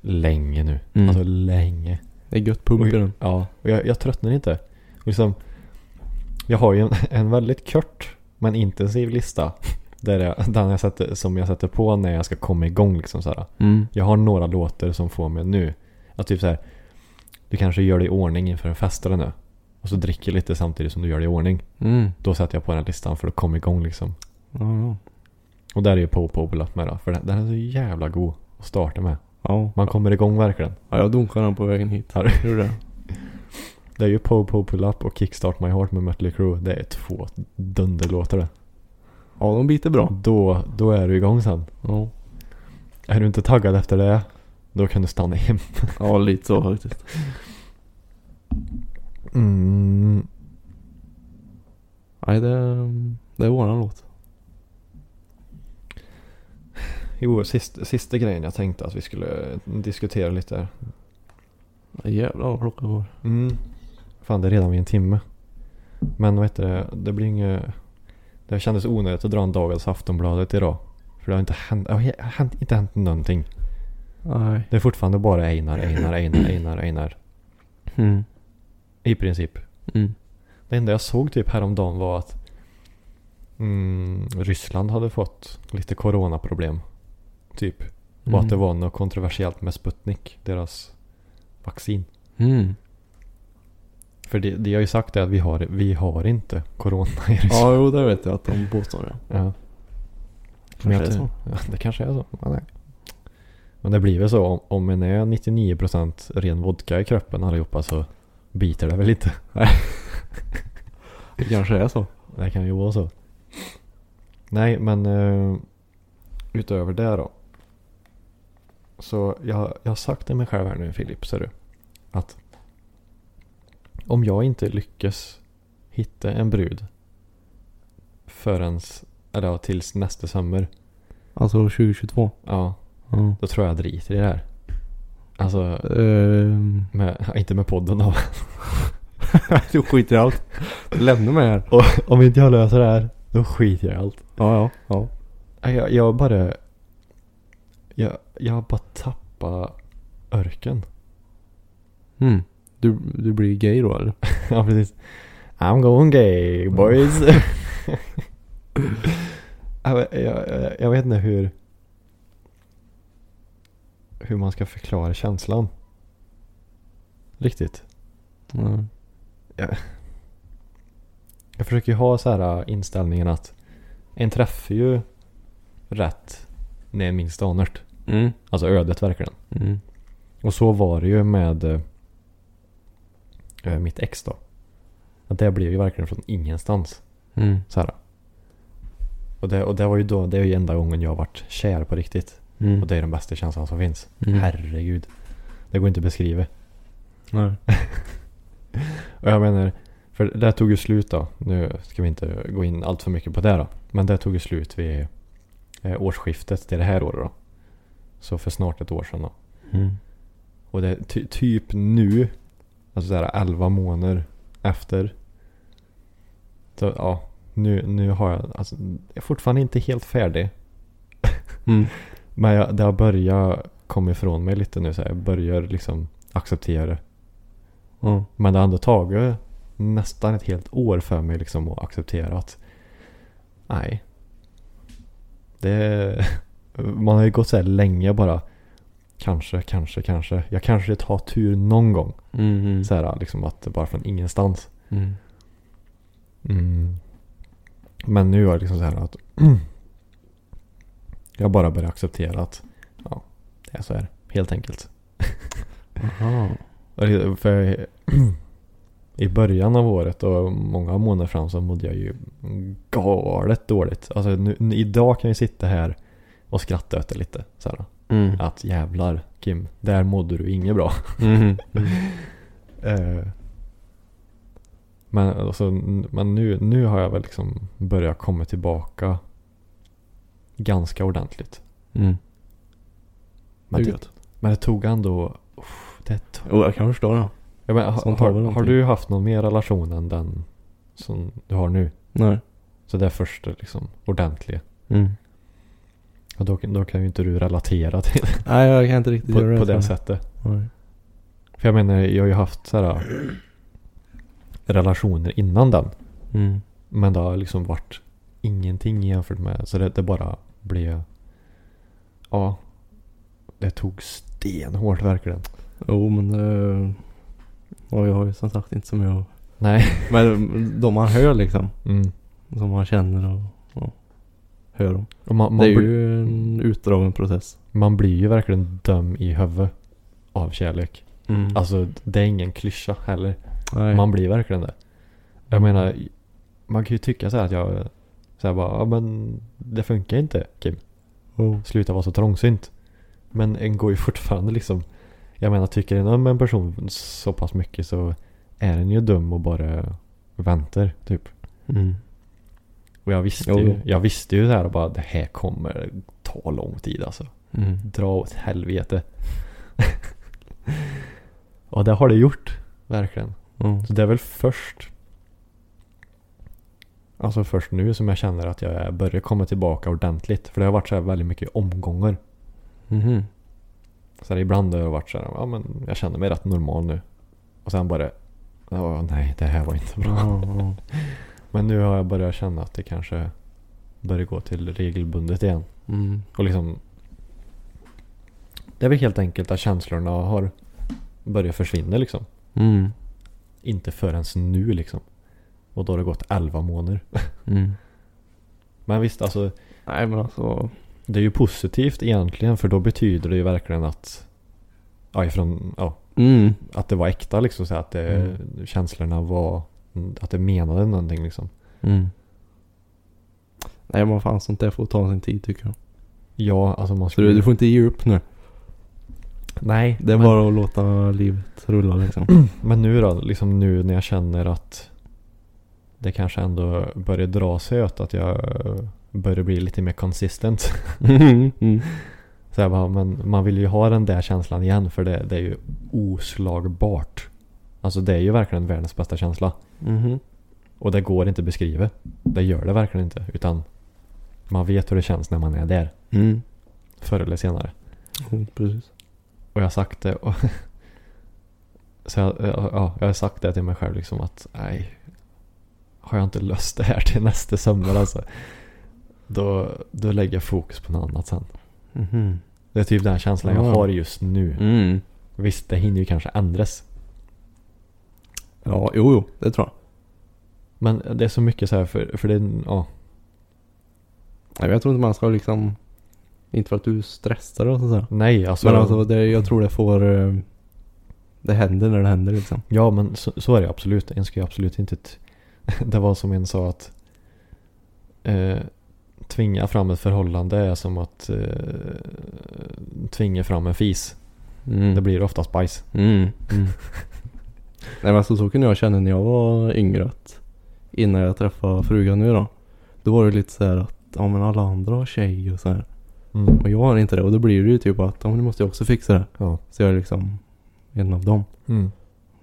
Länge nu. Mm. Alltså länge. Det är gött pump i den. Ja, och jag, jag tröttnar inte. Och Liksom, jag har ju en, en väldigt kort men intensiv lista. Där jag, den jag sätter, som jag sätter på när jag ska komma igång. Liksom, så här. Mm. Jag har några låtar som får mig nu. Att typ så här, du kanske gör dig i ordning inför en fest eller nu. Och så dricker lite samtidigt som du gör dig i ordning. Mm. Då sätter jag på den här listan för att komma igång liksom. Ja, ja. Och där är ju Popo Obelat med då. För den, den är så jävla god att starta med. Ja. Man kommer igång verkligen. ja jag dunkade den på vägen hit. Har du? Gjorde det? Det är ju Po Po Pull Up och Kickstart My Heart med Mötley Crüe. Det är två dunderlåtar det. Ja de biter bra. Då, då är du igång sen. Ja. Är du inte taggad efter det, då kan du stanna hem. ja lite så faktiskt. Mm. Nej det, det är våran låt. Jo, sist, sista grejen jag tänkte att vi skulle diskutera lite. Jävlar vad klockan går. Mm. Fan, det är redan vid en timme. Men vad heter det, det blir inget... Det kändes onödigt att dra en dagens Aftonbladet idag. För det har inte hänt, det har he- hänt, inte hänt någonting. Nej. Det är fortfarande bara Einar, Einar, Einar, Einar, Einar. Mm. I princip. Mm. Det enda jag såg typ häromdagen var att mm, Ryssland hade fått lite coronaproblem. Typ. Och Mm. att det var något kontroversiellt med Sputnik, deras vaccin. Mm. För det, det jag har ju sagt är att vi har, vi har inte corona i Ryssland. Ja jo det vet jag att de påstår det. Ja. Kanske Men jag är det tror- så. Ja, det kanske är så. Ja, nej. Men det blir väl så om, om en är 99% ren vodka i kroppen allihopa så biter det väl inte. Det kanske är så. Det kan ju vara så. Nej, men eh, utöver det då. Så jag, jag har sagt till mig själv här nu Filip, ser du. Att om jag inte lyckas hitta en brud förrän, eller ja, tills nästa sommar. Alltså 2022. Ja, Ja. då tror jag jag driter i det här. Alltså, Ehm, med, inte med podden då. du skiter i allt. Lämna mig här. Och, om inte jag löser det här, då skiter jag i allt. Ja, ja, ja. Nej, Jag, jag bara... Jag, jag bara tappar örken. Mm. Du, du blir gay då eller? ja, precis. I'm going gay boys. jag, jag, jag- jag vet inte hur... Hur man ska förklara känslan. Riktigt. Ja. Jag försöker ju ha så här äh, inställningen att en träffar ju rätt när en minst anar det. Mm. Alltså ödet verkligen. Mm. Och så var det ju med eh, mitt ex då. Att det blev ju verkligen från ingenstans. Mm. Så här. Och, det, och det var ju då, det är ju enda gången jag har varit kär på riktigt. Mm. Och det är den bästa känslan som finns. Mm. Herregud. Det går inte att beskriva. Nej. Och jag menar, för det tog ju slut då. Nu ska vi inte gå in allt för mycket på det då. Men det tog ju slut vid eh, årsskiftet till det här året då. Så för snart ett år sedan då. Mm. Och det är ty- typ nu, alltså såhär 11 månader efter. Så ja, nu, nu har jag, alltså jag är fortfarande inte helt färdig. Mm. Men jag, det har börjat komma ifrån mig lite nu så här. Jag börjar liksom acceptera det. Ja. Men det har ändå tagit nästan ett helt år för mig liksom att acceptera att nej. Det, man har ju gått så här länge bara. Kanske, kanske, kanske. Jag kanske tar tur någon gång. Mm, mm. Så här liksom att det bara från ingenstans. Mm. Men nu är det liksom så här att jag bara börjar acceptera att ja, det är så här helt enkelt. Aha. Och det- För I början av året och många månader fram så mådde jag ju galet dåligt. Alltså nu, nu, idag kan jag sitta här och skratta åt det lite. Så här, Mm. att jävlar Kim, där mådde du inget bra. Mm. Mm. Eh, men alltså, n- men nu, nu har jag väl liksom börjat komma tillbaka ganska ordentligt. Mm. Men Det är det, gött. men det tog ändå... uff, det tog, Jo, jag kan förstå det. Ja, men, har, Sånt har väl har, har någonting. du haft någon mer relation än den som du har nu? Nej. Så det är första liksom ordentliga. Mm. Och då, då kan ju inte du relatera till Nej, jag kan inte riktigt göra på, det. på det så. sättet. Nej. För jag menar, jag har ju haft sådana relationer innan den. Mm. Men det har liksom varit ingenting jämfört med. Så det, det bara blev... Ja. Det tog stenhårt verkligen. Jo, men det... Och jag har ju som sagt inte så mycket att... Nej. Men de man hör liksom. Mm. Som man känner och, och hör om. Och man, man, Det är blir- ju en utdragen process. man blir ju verkligen döm i huvudet av kärlek. Mm. Alltså det är ingen klyscha heller. Nej. Mm. Man blir verkligen det. Jag menar, man kan ju tycka så här att jag så här bara, ja men det funkar inte Kim. Jo. Sluta vara så trångsynt. Men en går ju fortfarande liksom, jag menar tycker en om en person så pass mycket så är den ju dum och bara väntar typ. Mm. Och jag visste Jo, jo. ju, jag visste ju så här bara det här kommer ta lång tid alltså. Mm. Dra åt helvete. och det har det gjort, verkligen. Ja. Så det är väl först Alltså först nu som jag känner att jag börjar komma tillbaka ordentligt. För det har varit så här väldigt mycket omgångar. Mhm. Så här, ibland har jag varit så här, ja men jag känner mig rätt normal nu. Och sen bara, ja nej det här var inte bra. Ja, ja. Men nu har jag börjat känna att det kanske börjar gå till regelbundet igen. Mm. Och liksom Det är väl helt enkelt att känslorna har börjat försvinna liksom. Mm. Inte förrän nu liksom. Och då har det gått 11 månader. Mm. Men visst, alltså Nej men alltså. det är ju positivt egentligen för då betyder det ju verkligen att ja, ifrån, ja, Mm. att det var äkta liksom så att det, känslorna var att det menade någonting liksom. Mm. Nej men fan sånt där får ta sin tid tycker jag. Ja, alltså man Så skulle... du, du får inte ge upp nu. Nej, Det är men, bara att låta livet rulla liksom. men nu då, liksom nu när jag känner att det kanske ändå börjar dra sig åt att jag börjar bli lite mer consistent. Mm. Mm. Så jag bara, men man vill ju ha den där känslan igen för det, det är ju oslagbart. Alltså det är ju verkligen världens bästa känsla. Mhm. Och det går inte att beskriva. Det gör det verkligen inte. Utan man vet hur det känns när man är där. Mm. Förr eller senare. Jo, Mm, Precis. Och jag har sagt det. Och så jag, ja, jag har sagt det till mig själv liksom att nej. Har jag inte löst det här till nästa sommar alltså. Då, då lägger jag fokus på något annat sen. Mhm. Det är typ den känslan jag Ja. har just nu. Mm. Visst, det hinner ju kanske ändras. Ja, jo, jo, det tror jag. Men det är så mycket så här för, för det, är- ja. Nej, men jag tror inte man ska liksom... Inte för att du stressar och sådär. Nej alltså. Men alltså, det, jag tror det får... eh, Det händer när det händer liksom. Ja, men så, så är det absolut. En ska ju absolut inte... T- det var som en sa att eh, tvinga fram ett förhållande är som att eh, tvinga fram en fis. Mm. Det blir oftast bajs. Mm. Nej men alltså så kunde jag känna när jag var yngre att innan jag träffade frugan nu då. Då var det lite så här att ja men alla andra har tjej och så här. Mm. Och jag har inte det. Och då blir det ju typ att ja men nu måste jag också fixa det. Ja. Så jag är liksom en av dem. Mm.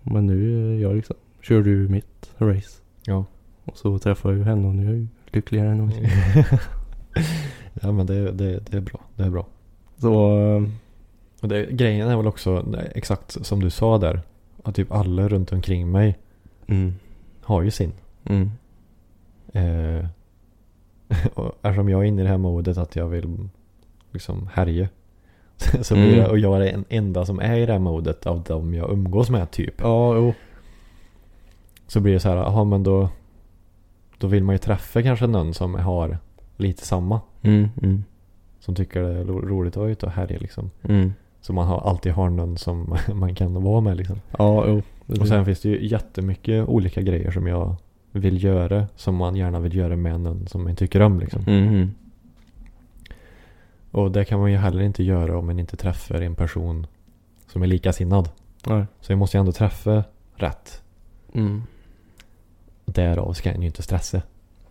Men nu är jag liksom, körde ju mitt race. Ja. Och så träffade jag ju henne och nu är jag ju lyckligare än någonsin. ja men det, det, det är bra. Det är bra. Så eh, Och det, grejen är väl också nej, exakt som du sa där. Att typ alla runt omkring mig mm, har ju sin. mm, Eh, och eftersom jag är inne i det här modet att jag vill liksom härja. Så blir Mm. jag, och jag är den enda som är i det här modet av de jag umgås med typ. ja jo. Så blir det så här, jaha men då, då vill man ju träffa kanske någon som har lite samma. Mm, mm, Som tycker det är ro- roligt att vara ute och härja liksom. mm. Så man har, alltid har någon som man kan vara med liksom. Ja jo. Och sen finns det ju jättemycket olika grejer som jag vill göra. Som man gärna vill göra med någon som man tycker om liksom. Mm, mm. Och det kan man ju heller inte göra om man inte träffar en person som är likasinnad. Nej. Så jag måste ju ändå träffa rätt. Mm. Därav ska jag ju inte stressa.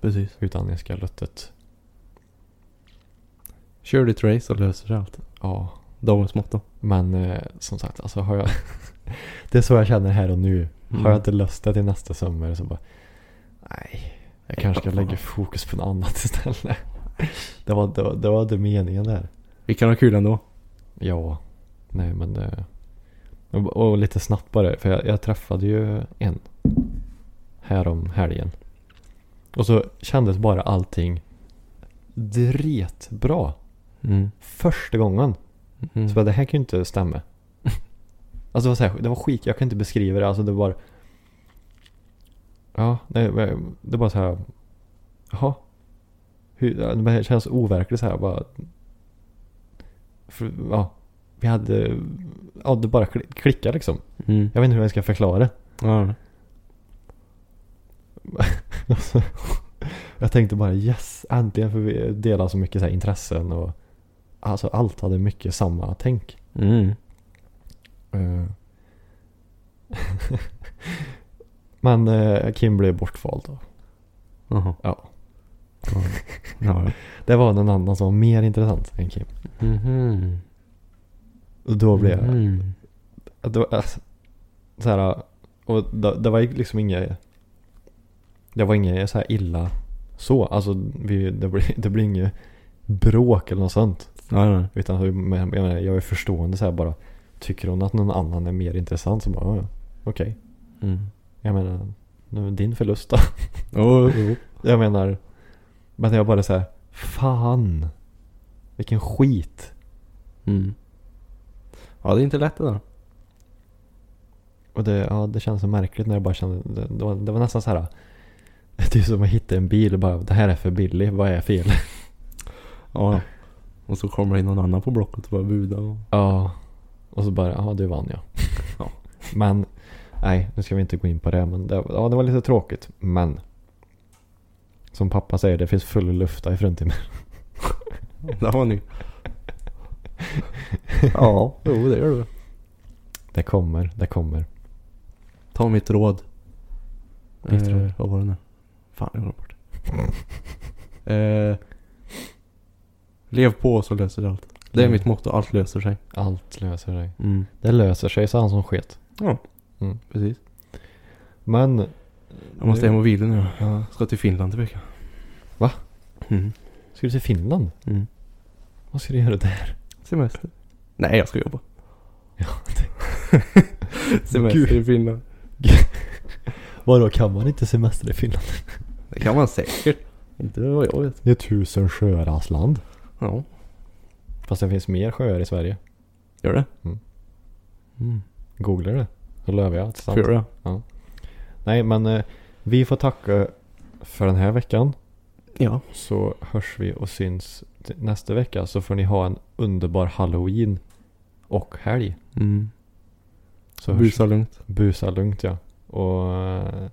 Precis. Utan jag ska luttet. Kör ditt race så löser det allt. Ja. Dagens motto. Men eh, som sagt, alltså har jag... det är så jag känner här och nu. Mm. Har jag inte löst det till nästa sommar så bara... Nej. Jag kanske ska lägga fokus på något annat istället. det var det, var, det, var det meningen där. Vi kan ha kul ändå. Ja, nej men... eh, Och, och lite snabbt bara, för jag, jag träffade ju en härom helgen. Och så kändes bara allting dretbra. Mm. Första gången. Mm. Så bara, det här kan ju inte stämma. alltså det var, så här, det var skit, jag kan inte beskriva det. Alltså det var... Ja, nej, men det var så här... Jaha? Hur, ja, det här känns overkligt så här bara... För, ja, vi hade... Ja, det bara kli- klickade liksom. Mm. Jag vet inte hur jag ska förklara det. Ja. det. Alltså, jag tänkte bara yes, äntligen för vi delar så mycket så här intressen och... Alltså allt hade mycket samma tänk. Mm. Eh. Men eh, Kim blev bortvald då. Jaha. Ja. Ja. ja. Det var någon annan som var mer intressant än Kim. Mhm. Och då blev jag... Mm. Det var, alltså, så här, och det, det var ju liksom inget... Det var inget så här illa så. Alltså vi, det blev det blir inget bråk eller något sånt. Ja, nej. Utan hur- men jag, menar, jag är förstående så här bara. Tycker hon att någon annan är mer intressant så bara ja, ja, okej. Mm. Jag menar, nu, din förlust då. Jo, jo. Jag menar, men jag bara såhär, fan. Vilken skit. Mm. Ja, det är inte lätt det där. Och det, ja, det känns så märkligt när jag bara kände, det, det, var, det var nästan såhär, det är som att hitta en bil och bara, det här är för billig, vad är fel? Ja, ja. Och så kommer det in någon annan på blocket och bara buda och... Ja. Och så bara, ja du vann jag. Ja. Men, nej, nu ska vi inte gå in på det, men det, ja, det var lite tråkigt, men. Som pappa säger, det finns full lufta i framtiden. Där var ni. ja, jo det gör du. Det kommer, det kommer. Ta mitt råd. Mitt eh, råd. Vad var det nu? Fan, jag glömde bort det. eh, lev på så löser det allt. Det är Mm. mitt motto, allt löser sig. Allt löser sig. Mm. Det löser sig, sa han som sket. Ja, Mm. precis. Men Jag måste Nu- hem och vila nu. Jag ska till Finland till veckan. Va? Mm. Ska du till Finland? Mm. Vad ska du göra där? Semester. Nej, jag ska jobba. Ja, Semester Gud. i Finland. Vadå, kan man inte semester i Finland? Det kan man säkert. Inte vad jag vet. Det är tusen sjöars land. Ja, Fast det finns mer sjöar i Sverige. gör det. Mm. Mm. Googla det. Så lövar jag att det är sant. Får jag göra? Nej, men eh, vi får tacka för den här veckan. Ja. Så hörs vi och syns t- nästa vecka. Så får ni ha en underbar halloween och helg. Mm. Så hörs Busa lugnt. Busa lugnt ja. Och eh,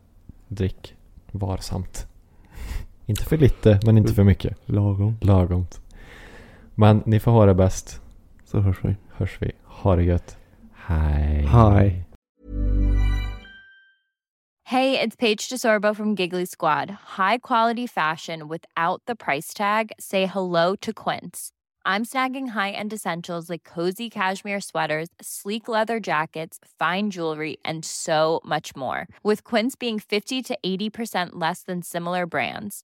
drick varsamt. Inte för lite, men inte för mycket. Lagom. Lagomt. Men ni får ha det bäst. Så hörs vi. Hörs vi. Ha det gött. Hej. Hej. Hey, it's Paige DeSorbo from Giggly Squad. High quality fashion without the price tag. Say hello to Quince. I'm snagging high-end essentials like cozy cashmere sweaters, sleek leather jackets, fine jewelry, and so much more. With Quince being 50 to 80% less than similar brands.